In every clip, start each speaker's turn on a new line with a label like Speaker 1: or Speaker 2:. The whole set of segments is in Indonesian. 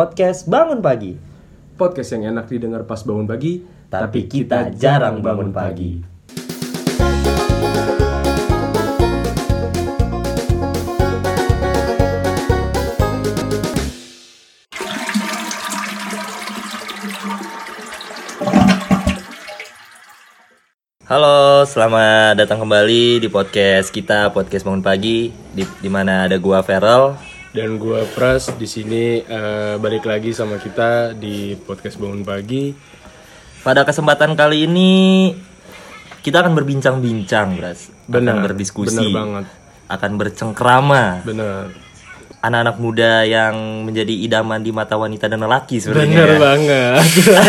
Speaker 1: Podcast Bangun Pagi.
Speaker 2: Podcast yang enak didengar pas bangun pagi,
Speaker 1: Tapi kita jarang bangun pagi. Halo, selamat datang kembali di podcast kita, podcast Bangun Pagi, di, di mana ada gua Feral.
Speaker 2: Dan gue Pras di sini eh, balik lagi sama kita di podcast bangun pagi.
Speaker 1: Pada kesempatan kali ini kita akan berbincang-bincang, Bras. akan
Speaker 2: Benar,
Speaker 1: berdiskusi.
Speaker 2: benar banget.
Speaker 1: Akan bercengkrama.
Speaker 2: Bener,
Speaker 1: Anak-anak muda yang menjadi idaman di mata wanita dan lelaki
Speaker 2: bener
Speaker 1: sebenarnya.
Speaker 2: banget.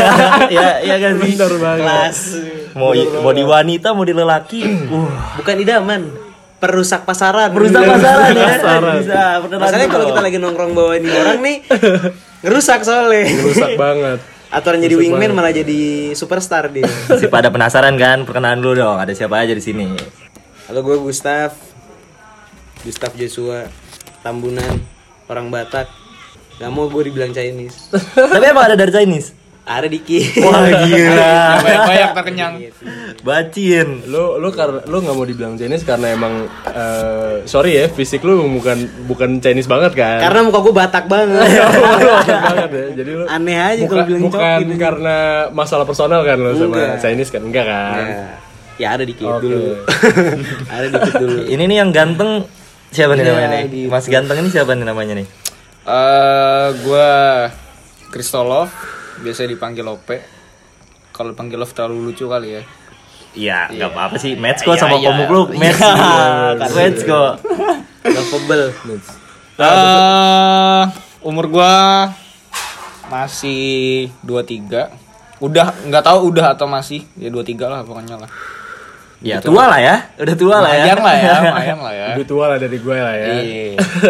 Speaker 1: ya, ya kan sih.
Speaker 2: Bener banget.
Speaker 1: Kelas. Mau mau di wanita, mau di lelaki. uh,
Speaker 3: Bukan idaman, perusak pasaran.
Speaker 1: merusak pasaran ya.
Speaker 2: Pasaran.
Speaker 1: Bisa, beneran
Speaker 3: Masalahnya kalau
Speaker 1: dong.
Speaker 3: kita lagi nongkrong bawa ini orang nih ngerusak soalnya.
Speaker 2: Rusak banget.
Speaker 3: Atau jadi wingman malah jadi superstar dia.
Speaker 1: Masih pada penasaran kan? Perkenalan dulu dong, ada siapa aja di sini.
Speaker 3: Halo gue Gustaf. Gustaf Joshua Tambunan, orang Batak. Gak mau gue dibilang Chinese.
Speaker 1: Tapi emang ada dari Chinese?
Speaker 3: Ada dikit.
Speaker 1: Wah gila.
Speaker 4: banyak terkenyang
Speaker 1: Bacin.
Speaker 2: Lo lo karena lo nggak mau dibilang Chinese karena emang eh, sorry ya fisik lo bukan bukan Chinese banget kan.
Speaker 3: Karena muka gue Batak banget.
Speaker 2: Lo Chinese banget ya. Jadi lo
Speaker 3: Aneh aja kalau
Speaker 2: buka-
Speaker 3: bilang
Speaker 2: bukan
Speaker 3: cokin.
Speaker 2: karena masalah personal kan lo sama
Speaker 3: Enggak.
Speaker 2: Chinese kan enggak kan.
Speaker 3: Ya, ya ada dikit
Speaker 2: Oke.
Speaker 3: dulu. ada dikit dulu.
Speaker 1: Ini nih yang ganteng siapa nih
Speaker 3: Iya,
Speaker 1: namanya nih?
Speaker 3: gitu.
Speaker 1: Mas ganteng ini siapa nih namanya nih?
Speaker 4: eh gue Kristolov biasa dipanggil Lope kalau dipanggil Love terlalu lucu kali ya
Speaker 1: Iya, nggak apa-apa sih. Match kok
Speaker 4: Iya,
Speaker 1: sama
Speaker 4: iya.
Speaker 1: komuk lu. Match.
Speaker 3: Iya,
Speaker 1: Match kok.
Speaker 3: Lovable.
Speaker 4: Nah, eh umur gue masih 23 udah nggak tahu udah atau masih ya 23 lah pokoknya lah
Speaker 1: Ya tua lah ya. Udah tua lah ya.
Speaker 4: lumayan Iya, lah ya lumayan lah ya
Speaker 2: Lebih tua lah dari gue lah ya.
Speaker 4: Iya.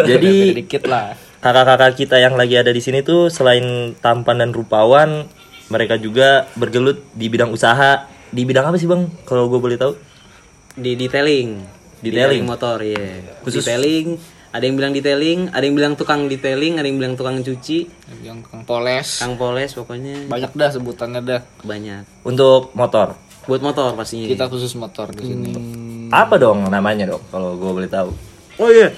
Speaker 1: Jadi-
Speaker 4: Beda-beda dikit lah
Speaker 1: Kakak-kakak kita yang lagi ada di sini tuh selain tampan dan rupawan, mereka juga bergelut di bidang usaha. Di bidang apa sih bang? Kalau gue boleh tahu?
Speaker 3: di detailing
Speaker 1: Detailing?
Speaker 3: motor ya
Speaker 1: Khusus-
Speaker 3: detailing ada yang bilang detailing ada yang bilang tukang detailing ada yang bilang tukang cuci
Speaker 4: yang kang poles
Speaker 3: tukang poles pokoknya
Speaker 4: banyak dah sebutannya dah
Speaker 3: banyak
Speaker 1: Untuk motor.
Speaker 3: buat motor pastinya
Speaker 4: kita khusus motor di sini
Speaker 3: Hmm.
Speaker 1: Apa dong namanya dong? Kalau gue boleh tahu?
Speaker 3: oh iya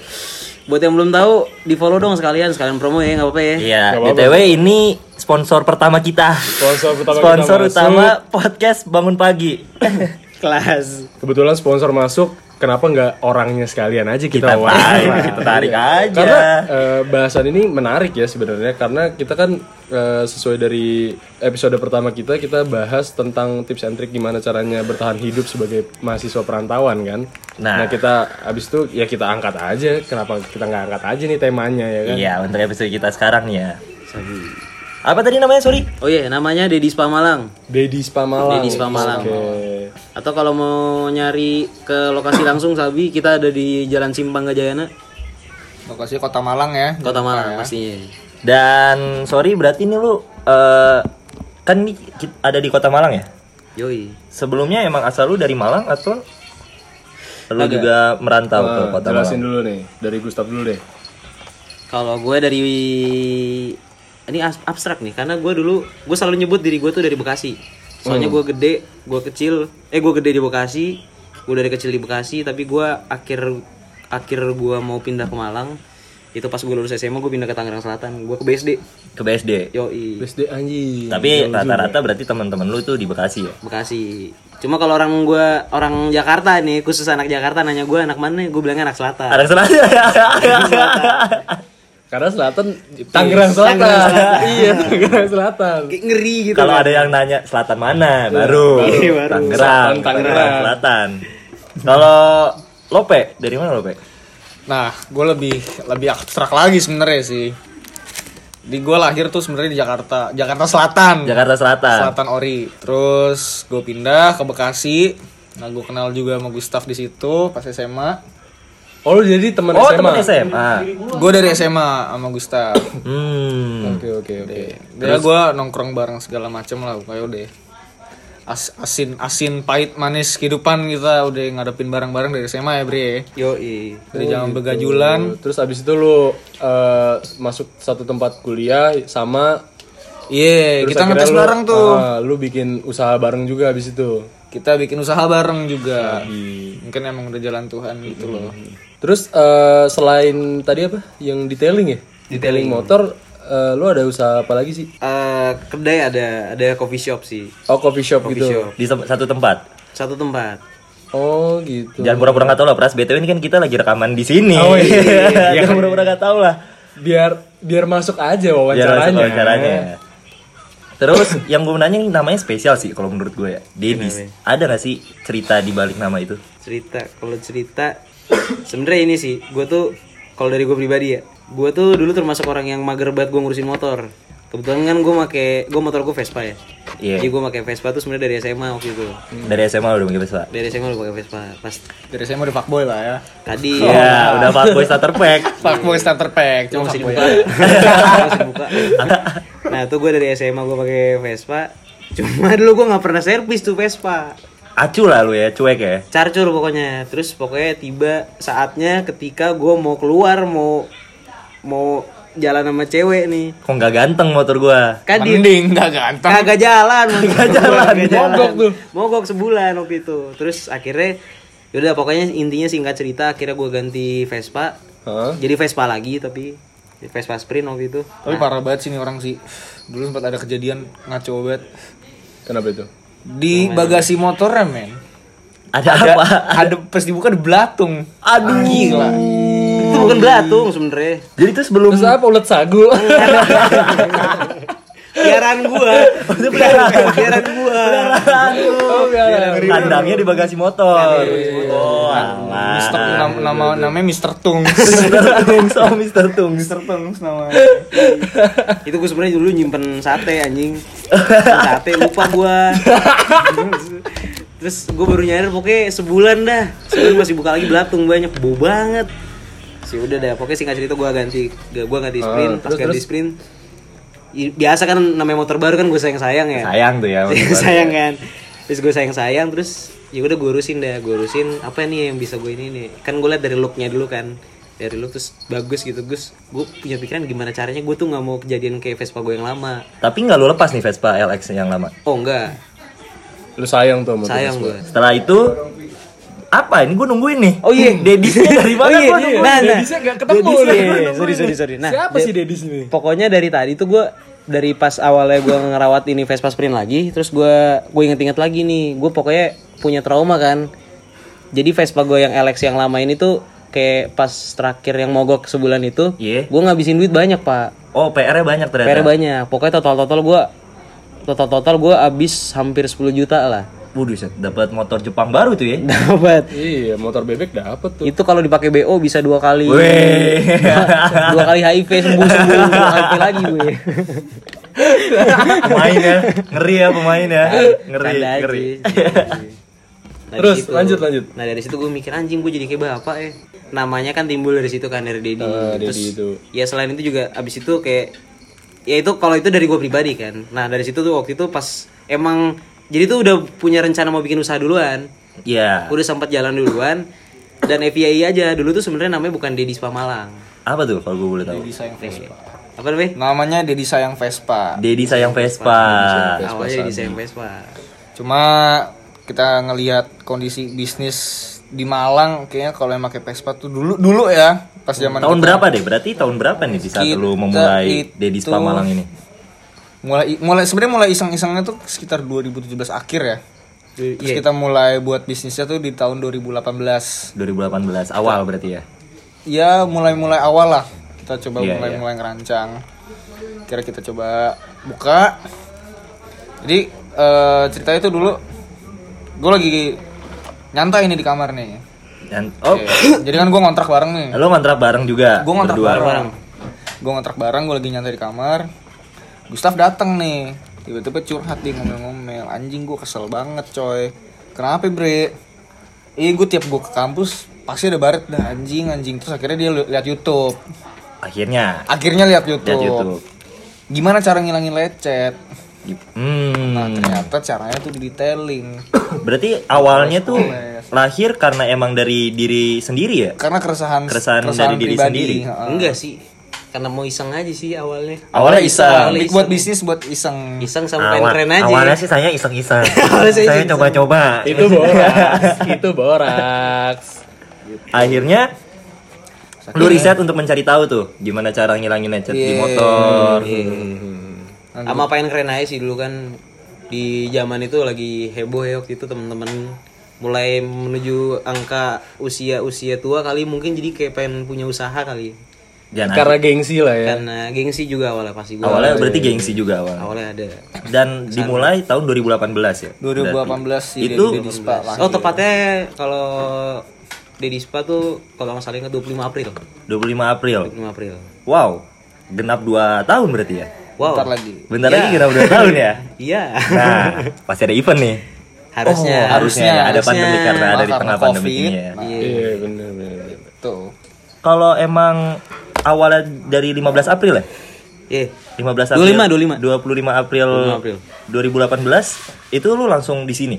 Speaker 3: buat yang belum tahu di follow dong sekalian sekalian promo ya nggak apa-apa ya
Speaker 1: Iya,
Speaker 2: Nggak apa-apa.
Speaker 1: btw ini sponsor pertama kita.
Speaker 2: Sponsor pertama kita
Speaker 1: Sponsor
Speaker 2: masuk.
Speaker 1: utama podcast bangun pagi.
Speaker 3: kelas
Speaker 2: Kebetulan sponsor masuk, kenapa nggak orangnya sekalian aja
Speaker 1: Kita
Speaker 2: kita,
Speaker 1: tarik,
Speaker 2: wawancara?
Speaker 1: kita tarik aja.
Speaker 2: Karena eh, bahasan ini menarik ya sebenarnya karena kita kan eh, sesuai dari episode pertama kita kita bahas tentang tips and trick gimana caranya bertahan hidup sebagai mahasiswa perantauan kan.
Speaker 1: Nah.
Speaker 2: Nah, kita abis itu ya kita angkat aja. Kenapa kita nggak angkat aja nih temanya ya kan?
Speaker 1: Iya, untuk episode kita sekarang ya. Apa tadi namanya? Sorry.
Speaker 3: oh iya namanya Deddy Spa Malang
Speaker 2: Dedi Spamalang.
Speaker 3: Dedi Spamalang.
Speaker 2: Oke.
Speaker 3: atau kalau mau nyari ke lokasi langsung Sabi kita ada di Jalan Simpang Gajayana
Speaker 4: lokasi Kota Malang ya
Speaker 3: Kota Malang pastinya
Speaker 1: Dan sorry berarti ini lu eh, kan ini ki- ada di Kota Malang ya?
Speaker 3: yoi
Speaker 1: Sebelumnya emang asal lu dari Malang atau lu
Speaker 3: Agak.
Speaker 1: juga merantau ke
Speaker 2: Nah,
Speaker 1: Kota Malang?
Speaker 2: jelasin dulu nih dari Gustaf dulu deh.
Speaker 3: Kalau gue dari ini as- abstrak nih karena gue dulu gue selalu nyebut diri gue tuh dari Bekasi. Soalnya gue gede, gue kecil, eh gue gede di Bekasi, gue dari kecil di Bekasi tapi gue akhir akhir gue mau pindah ke Malang itu pas gue lulus SMA gue pindah ke Tangerang Selatan gue ke BSD
Speaker 1: Ke BSD.
Speaker 3: yoi
Speaker 2: BSD anjing.
Speaker 1: Tapi rata-rata berarti teman-teman lu tuh di Bekasi ya?
Speaker 3: Bekasi cuma kalau orang gue orang Jakarta nih khusus anak Jakarta nanya gue anak mana gue bilangnya anak Selatan
Speaker 1: Ada selatan.
Speaker 2: Karena selatan Tangerang Selatan. iya, Tangerang Selatan.
Speaker 3: Kayak ngeri gitu
Speaker 1: Kalau ada yang nanya selatan mana, baru,
Speaker 3: Iya, baru.
Speaker 1: Tangerang,
Speaker 2: Selatan, Tangerang.
Speaker 1: Selatan. Kalau Lope, dari mana Lope?
Speaker 4: Nah, gue lebih lebih abstrak lagi sebenarnya sih. Di gue lahir tuh sebenarnya di Jakarta, Jakarta Selatan,
Speaker 1: Jakarta Selatan.
Speaker 4: Selatan Ori. Terus gue pindah ke Bekasi. Nah, gue kenal juga sama Gustaf di situ pas SMA.
Speaker 2: Oh, lu jadi teman
Speaker 1: Oh,
Speaker 2: SMA.
Speaker 1: teman SMA.
Speaker 4: Gue dari SMA sama Gustaf.
Speaker 1: Hmm.
Speaker 2: Oke, oke, oke.
Speaker 4: Dia gue nongkrong bareng segala macem lah, kayak udah. as- asin asin pahit manis kehidupan kita udah ngadepin barang-barang dari SMA ya Bre ya.
Speaker 3: Yo,
Speaker 4: dari
Speaker 2: Oh,
Speaker 4: zaman
Speaker 2: gitu.
Speaker 4: begajulan
Speaker 2: Terus abis itu lu eh, masuk satu tempat kuliah sama
Speaker 4: iya
Speaker 2: terus
Speaker 4: kita
Speaker 2: akhirnya
Speaker 4: ngetes
Speaker 2: lu-
Speaker 4: bareng tuh
Speaker 2: ah, lu bikin usaha bareng juga abis itu.
Speaker 4: kita bikin usaha bareng juga mungkin emang udah jalan Tuhan gitu loh
Speaker 2: Terus eh, selain tadi apa? Yang detailing ya? Detailing motor eh, lu ada usaha apa lagi sih?
Speaker 3: Eh, kedai ada ada coffee shop sih
Speaker 2: Oh, coffee shop gitu.
Speaker 1: di tem- satu tempat.
Speaker 3: satu tempat
Speaker 2: Oh, gitu.
Speaker 1: Jangan pura-pura nggak tahu lah, Pras. BTW ini kan kita lagi rekaman di sini.
Speaker 3: Oh, iya.
Speaker 1: Jangan pura-pura nggak tahu lah.
Speaker 2: Biar biar masuk aja
Speaker 1: Biar
Speaker 2: wawancaranya.
Speaker 1: langsung wawancaranya. Terus yang gue mau nanya ini namanya spesial sih kalau menurut gue ya.
Speaker 3: Iya,
Speaker 1: Dedis. Ada nggak sih cerita di balik nama itu?
Speaker 3: cerita kalau cerita sebenarnya ini sih gue tuh kalau dari gue pribadi ya gue tuh dulu termasuk orang yang mager banget gue ngurusin motor kebetulan kan gue make gue motor gue Vespa ya
Speaker 1: Iya.
Speaker 3: jadi gue pakai Vespa tuh sebenarnya dari SMA waktu itu
Speaker 1: Dari SMA lo udah mungkin Pak.
Speaker 3: dari SMA udah pakai Vespa pas
Speaker 4: dari saya mau udah fuckboy lah ya
Speaker 3: tadi
Speaker 1: Iya, udah Pak Boy Starter Pack.
Speaker 4: fuckboy starter pack cuma
Speaker 3: masih
Speaker 4: fuckboy
Speaker 3: dibuka masih dibuka nah tuh gue dari SMA gue pakai Vespa cuma dulu gue nggak pernah servis tuh Vespa
Speaker 1: Acu lah lu ya, cuek ya.
Speaker 3: carcur pokoknya terus pokoknya tiba saatnya ketika gue mau keluar mau mau jalan sama cewek nih
Speaker 1: Kok nggak ganteng motor gua?
Speaker 3: kadit
Speaker 4: mending nggak ganteng
Speaker 3: kagak jalan kagak
Speaker 1: jalan.
Speaker 3: mogok tuh mogok sebulan waktu itu terus akhirnya yaudah pokoknya intinya singkat cerita akhirnya gue ganti Vespa
Speaker 2: Hah?
Speaker 3: jadi Vespa lagi tapi Vespa Sprint waktu itu
Speaker 4: tapi parah banget sih nih orang sih dulu sempat ada kejadian ngaco banget
Speaker 2: Kenapa itu?
Speaker 4: di bagasi motornya men
Speaker 1: Ada
Speaker 4: ada
Speaker 1: apa?
Speaker 4: ada pas dibuka ada belatung
Speaker 1: Aduh.
Speaker 4: gila
Speaker 3: itu bukan belatung sebenernya
Speaker 1: Jadi itu sebelum
Speaker 2: Terus apa ulet sagu?
Speaker 3: piaran gua piaran gua
Speaker 2: Oh, iya,
Speaker 1: kandangnya di bagasi motor. Oh,
Speaker 4: Mister
Speaker 1: alah.
Speaker 4: nam- nama namanya Mister Tung
Speaker 1: Mister Tungs, oh Mister Tungs.
Speaker 4: iya. Mister Tung nama
Speaker 3: itu gue sebenarnya dulu nyimpen sate anjing Nyimpen sate lupa gua terus gue baru nyadar pokoknya sebulan dah sebulan masih buka lagi belatung banyak bau banget sih udah dah pokoknya singkat cerita gua ganti gua ganti sprint
Speaker 2: Ah,
Speaker 3: pas
Speaker 2: terus,
Speaker 3: ganti
Speaker 2: terus?
Speaker 3: sprint i- biasa kan namanya motor baru kan gue sayang sayang ya
Speaker 1: Sayang tuh ya. motor.
Speaker 3: sayang kan terus gue sayang sayang terus ya udah gue urusin dah gue urusin apa nih yang bisa gue ini nih kan gue liat dari looknya dulu kan dari look terus bagus gitu Gus gue punya pikiran gimana caranya gue tuh nggak mau kejadian kayak Vespa gue yang lama
Speaker 1: Tapi nggak lu lepas nih Vespa LX yang lama.
Speaker 3: oh enggak
Speaker 2: lu sayang tuh motor.
Speaker 3: sayang gue
Speaker 1: Setelah itu apa ini gue nungguin nih
Speaker 3: Oh, iya.
Speaker 1: Dedis dari
Speaker 3: oh
Speaker 1: mana
Speaker 3: iya
Speaker 1: gua nungguin?
Speaker 3: nah nah
Speaker 2: Dedisnya nggak ketemu
Speaker 3: Dedis-
Speaker 2: lu.
Speaker 3: iya, iya, sorry sorry sorry nah
Speaker 2: Siapa
Speaker 3: de-
Speaker 2: sih Dedis ini?
Speaker 3: pokoknya dari tadi tuh gue dari pas awalnya gue ngerawat ini Vespa Sprint lagi terus gue gue inget-inget lagi nih gue pokoknya punya trauma kan jadi Vespa gue yang LX yang lama ini tuh kayak pas terakhir yang mogok sebulan itu
Speaker 1: Iya.
Speaker 3: gue ngabisin duit banyak pak
Speaker 1: Oh PR-nya banyak
Speaker 3: PR
Speaker 1: ternyata.
Speaker 3: banyak pokoknya total total gue total total gue abis hampir 10 juta lah
Speaker 1: Waduh, set, dapat motor Jepang baru tuh ya.
Speaker 3: dapat
Speaker 2: Iya, motor bebek dapet tuh.
Speaker 3: itu kalau dipakai BO bisa dua kali
Speaker 1: Weh.
Speaker 3: dua kali HIV sembuh sembuh dua HIV lagi gue
Speaker 1: pemain ya. Ngeri ya pemain ya. Ngeri,
Speaker 3: Canda aja,
Speaker 1: ngeri.
Speaker 3: canda aja. Nah,
Speaker 2: Terus,
Speaker 3: di situ-
Speaker 2: lanjut, lanjut.
Speaker 3: Nah dari situ gue mikir anjing gue jadi kayak bapak ya. Namanya kan timbul dari situ kan dari Dedi.
Speaker 2: Ah,
Speaker 3: Terus,
Speaker 2: Dedi itu.
Speaker 3: Ya selain itu juga abis itu kayak ya itu kalau itu dari gue pribadi kan. Nah dari situ tuh waktu itu pas emang jadi tuh udah punya rencana mau bikin usaha duluan.
Speaker 1: Ya.
Speaker 3: Udah sempat jalan duluan dan FII aja dulu tuh sebenarnya namanya bukan Dedi Spa Malang.
Speaker 1: Apa tuh kalau gue boleh tahu?
Speaker 4: Dedi sayang Vespa
Speaker 3: Apa namanya?
Speaker 4: namanya Dedi sayang Vespa
Speaker 1: Dedi sayang Vespa.
Speaker 3: Awalnya Dedi Sayang Vespa.
Speaker 4: cuma kita ngelihat kondisi bisnis di Malang kayaknya kalau yang pakai Vespa tuh dulu dulu ya pas zaman
Speaker 1: Tahun berapa deh? Berarti tahun berapa nih di saat
Speaker 4: Kita
Speaker 1: lu memulai
Speaker 4: itu-
Speaker 1: Dedi Spa Malang ini?
Speaker 4: mulai mulai sebenarnya mulai iseng-isengnya tuh sekitar 2017 akhir ya
Speaker 3: Iya.
Speaker 4: terus kita mulai buat bisnisnya tuh di tahun 2018
Speaker 1: 2018 awal berarti ya.
Speaker 4: ya mulai-mulai awal lah kita coba
Speaker 1: Iya,
Speaker 4: mulai-mulai ngerancang kira kita coba buka jadi eh, ceritanya itu dulu gue lagi nyantai ini di kamar nih Iya,
Speaker 1: Dan oh,
Speaker 4: jadi kan gue ngontrak bareng nih
Speaker 1: lu ngontrak bareng juga.
Speaker 4: gue ngontrak
Speaker 1: berdua.
Speaker 4: bareng gue ngontrak bareng gue lagi nyantai di kamar Gustaf datang nih tiba-tiba curhat dia ngomel-ngomel anjing gue kesel banget coy kenapa bre Ih gue tiap gue ke kampus pasti ada baret dah anjing anjing terus akhirnya dia li- lihat YouTube
Speaker 1: Akhirnya
Speaker 4: akhirnya lihat YouTube.
Speaker 1: lihat YouTube.
Speaker 4: gimana cara ngilangin lecet gitu.
Speaker 1: Hmm.
Speaker 4: Nah ternyata caranya tuh di detailing
Speaker 1: Berarti awalnya tuh
Speaker 4: Oles.
Speaker 1: lahir karena emang dari diri sendiri ya?
Speaker 4: karena keresahan
Speaker 1: Keresahan dari diri sendiri.
Speaker 4: heeh.
Speaker 3: Enggak sih. Karena mau iseng aja sih awalnya.
Speaker 1: Awalnya iseng.
Speaker 3: Awalnya iseng.
Speaker 4: buat bisnis buat iseng.
Speaker 3: Iseng sama
Speaker 1: Awal-
Speaker 3: keren-keren aja.
Speaker 1: Awalnya sih saya iseng-iseng.
Speaker 3: Awalnya saya
Speaker 1: saya
Speaker 3: iseng-iseng.
Speaker 1: coba-coba.
Speaker 2: itu boraks itu boraks
Speaker 1: Akhirnya lu riset untuk mencari tahu tuh gimana cara ngilangin lecet di
Speaker 4: Iya.
Speaker 1: motor.
Speaker 3: sama pengen keren aja sih dulu kan di zaman itu lagi heboh ya waktu itu teman-teman mulai menuju angka usia usia tua kali mungkin jadi kayak pengen punya usaha kali
Speaker 1: Jangan
Speaker 2: karena gengsi lah ya
Speaker 3: karena gengsi juga awalnya pasti gua
Speaker 1: Iya.
Speaker 4: Iya,
Speaker 1: awalnya berarti gengsi juga awal.
Speaker 3: awalnya ada
Speaker 1: Dan dimulai tahun 2018 ya.
Speaker 4: 2018 sih
Speaker 1: Itu-
Speaker 4: dari iya, Dispa lah.
Speaker 3: oh tepatnya kalau Deddy Spa tuh kalau nggak salah ingat 25 April
Speaker 1: 25 April.
Speaker 3: 25 April
Speaker 1: Wow, genap 2 tahun berarti ya.
Speaker 3: wow
Speaker 4: Bentar lagi.
Speaker 1: Bentar lagi genap 2 tahun ya.
Speaker 3: iya
Speaker 1: Nah, pasti ada event nih.
Speaker 3: harusnya
Speaker 1: Oh, harusnya,
Speaker 4: harusnya,
Speaker 1: ada pandemi
Speaker 3: harusnya.
Speaker 1: karena ada di
Speaker 4: Karena
Speaker 1: tengah pandemi
Speaker 4: COVID.
Speaker 1: ini ya.
Speaker 2: iya bener bener bener.
Speaker 4: Tuh.
Speaker 1: Kalau emang awalnya dari 15 April ya?
Speaker 3: Iya.
Speaker 1: 15 April.
Speaker 3: 25,
Speaker 1: 25 April,
Speaker 3: 25 April.
Speaker 1: 2018 itu lu langsung di sini.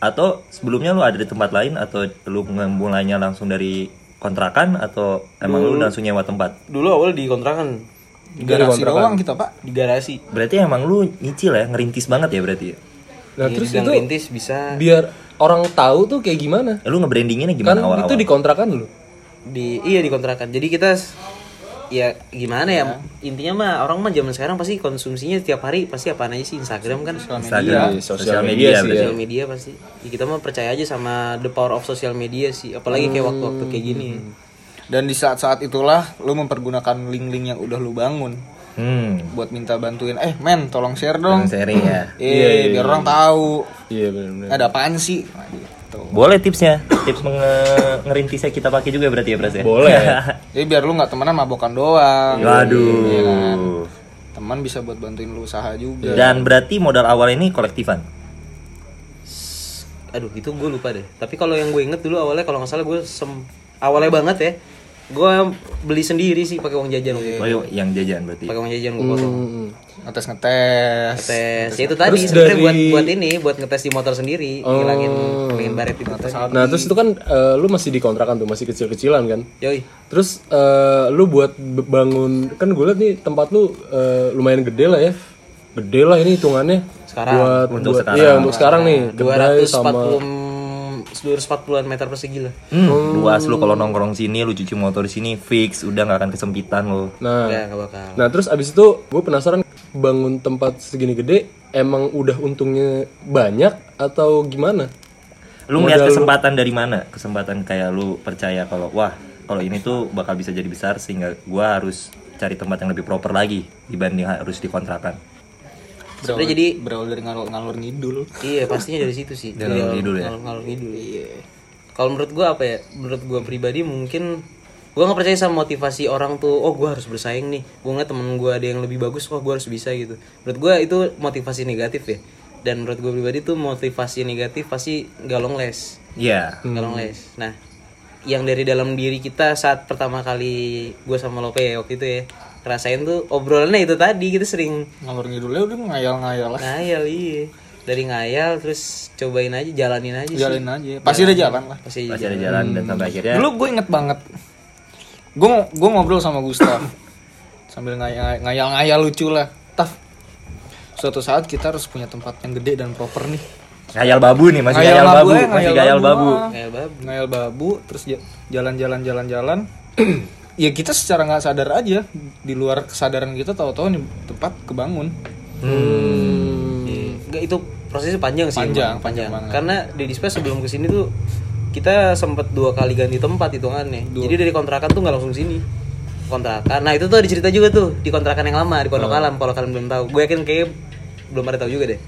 Speaker 1: Atau sebelumnya lu ada di tempat lain atau lu mulainya langsung dari kontrakan atau emang lu langsung nyewa tempat?
Speaker 3: dulu awal di kontrakan
Speaker 4: Di garasi doang kita, Pak.
Speaker 3: di garasi
Speaker 1: Berarti emang lu nyicil ya, ngerintis banget ya berarti ya?
Speaker 2: nah
Speaker 3: Iya,
Speaker 2: terus
Speaker 3: dibilang
Speaker 2: itu
Speaker 3: rintis bisa
Speaker 2: biar orang tahu tuh kayak gimana
Speaker 1: Eh, Lu ngebrandinginnya
Speaker 2: kan
Speaker 1: gimana awal-awal?
Speaker 2: itu dikontrakan lu
Speaker 3: di iya dikontrakan jadi kita s- ya gimana
Speaker 2: Iya.
Speaker 3: ya intinya mah orang mah zaman sekarang pasti konsumsinya tiap hari pasti apa aja sih Instagram kan
Speaker 1: Instagram,
Speaker 2: Iya,
Speaker 1: sosial media,
Speaker 2: sih
Speaker 1: berarti.
Speaker 3: sosial media pasti Ya, kita mah percaya aja sama the power of social media sih apalagi kayak waktu-waktu
Speaker 2: Hmm.
Speaker 3: kayak gini
Speaker 4: Dan di saat-saat itulah lu mempergunakan link-link yang udah lu bangun
Speaker 1: Hmm,
Speaker 4: buat minta bantuin. Eh, men, tolong share dong.
Speaker 1: sharing ya.
Speaker 4: Eh, biar orang tahu
Speaker 2: iya bener bener
Speaker 4: ada apaan sih. Nah, gitu.
Speaker 1: Boleh tipsnya, tips menge- ngerintisnya kita pakai juga berarti ya Pras ya?
Speaker 2: Boleh.
Speaker 4: Jadi biar lu nggak temenan mabokan doang. Iya kan?
Speaker 1: Waduh.
Speaker 4: Teman bisa buat bantuin lu usaha juga.
Speaker 1: Dan berarti modal awal ini kolektifan.
Speaker 3: aduh itu gue lupa deh tapi kalau yang gue inget dulu awalnya kalau nggak salah gue sem- awalnya banget ya gue beli sendiri sih pakai uang jajan waktu itu.
Speaker 1: Oh,
Speaker 2: Iya.
Speaker 1: yang jajan berarti.
Speaker 3: pakai uang jajan gue potong
Speaker 2: Hmm.
Speaker 4: Ngetes-ngetes.
Speaker 3: tes ya itu tadi
Speaker 2: Terus
Speaker 3: sebenarnya
Speaker 2: dari-
Speaker 3: buat buat ini buat ngetes di motor sendiri ngilangin ngilangin baret itu tadi
Speaker 2: nah terus itu kan eh, lu masih dikontrakan tuh masih kecil kecilan kan
Speaker 3: yoi
Speaker 2: terus eh, lu buat be- bangun kan gue liat nih tempat lu eh, lumayan gede lah ya gede lah ini hitungannya
Speaker 3: Sekarang,
Speaker 2: buat,
Speaker 1: untuk
Speaker 2: buat-
Speaker 1: sekarang.
Speaker 2: iya untuk sekarang nih
Speaker 3: dua
Speaker 2: kedai
Speaker 3: ratus
Speaker 2: sama
Speaker 3: empat puluh dua ratus empat puluhan meter persegi lah
Speaker 1: Hmm, luas lu kalau nongkrong sini, lu cuci motor di sini fix, udah nggak akan kesempitan lu.
Speaker 2: nah
Speaker 3: nggak nggak bakal
Speaker 2: Nah terus abis itu gue penasaran bangun tempat segini gede emang udah untungnya banyak atau gimana?
Speaker 1: Lu ngeliat kesempatan dari mana? Kesempatan kayak lu percaya kalau wah, kalau ini tuh bakal bisa jadi besar sehingga gua harus cari tempat yang lebih proper lagi dibanding harus dikontrakan.
Speaker 3: sebenarnya jadi
Speaker 4: Berawal dari ngalur-ngalur ngidul.
Speaker 3: iya pastinya dari situ sih
Speaker 1: Dari ngalur ngidul ya?
Speaker 3: ngalur ngalur ngidul iya kalau menurut gua apa ya menurut gua pribadi mungkin gua nggak percaya sama motivasi orang tuh oh gua harus bersaing nih gua nggak temen gua ada yang lebih bagus oh gua harus bisa gitu menurut gua itu motivasi negatif ya dan menurut gua pribadi tuh motivasi negatif pasti galong les
Speaker 1: Iya.
Speaker 3: Galong les. Nah, yang dari dalam diri kita saat pertama kali gue sama Lope ya waktu itu ya rasain tuh obrolannya itu tadi kita sering
Speaker 4: Ngalur ngidulnya udah ngayal-ngayal lah.
Speaker 3: ngayal iya dari ngayal terus cobain aja jalanin aja sih
Speaker 4: Jalin aja. Pasti udah jalan lah.
Speaker 3: pasti
Speaker 1: Masih
Speaker 3: jalan.
Speaker 1: ada jalan dan sampai akhirnya
Speaker 4: Dulu gue inget banget. Gue gue ngobrol sama Gustaf sambil ngayal- ngayal-ngayal lucu lah. Taf. Suatu saat kita harus punya tempat yang gede dan proper nih.
Speaker 1: ngayal babu nih, masih ngayal,
Speaker 4: babu
Speaker 1: babu,
Speaker 4: aja,
Speaker 1: masih
Speaker 4: ngayal
Speaker 1: ngayal
Speaker 4: babu
Speaker 1: babu.
Speaker 4: doang.
Speaker 3: Ngayal bab
Speaker 4: Ngayal babu terus ja- jalan-jalan jalan-jalan. ya kita secara nggak sadar aja di luar kesadaran kita tahu-tahu nih tempat kebangun.
Speaker 3: Nggak, itu prosesnya panjang sih
Speaker 4: Panjang,
Speaker 3: emang, panjang, karena di display sebelum kesini tuh kita sempet dua kali ganti tempat hitungannya jadi dari kontrakan tuh nggak langsung sini kontrakan nah itu tuh ada cerita juga tuh di kontrakan yang lama di pondok alam kalau kalian belum tahu gue yakin kayak belum ada tahu juga deh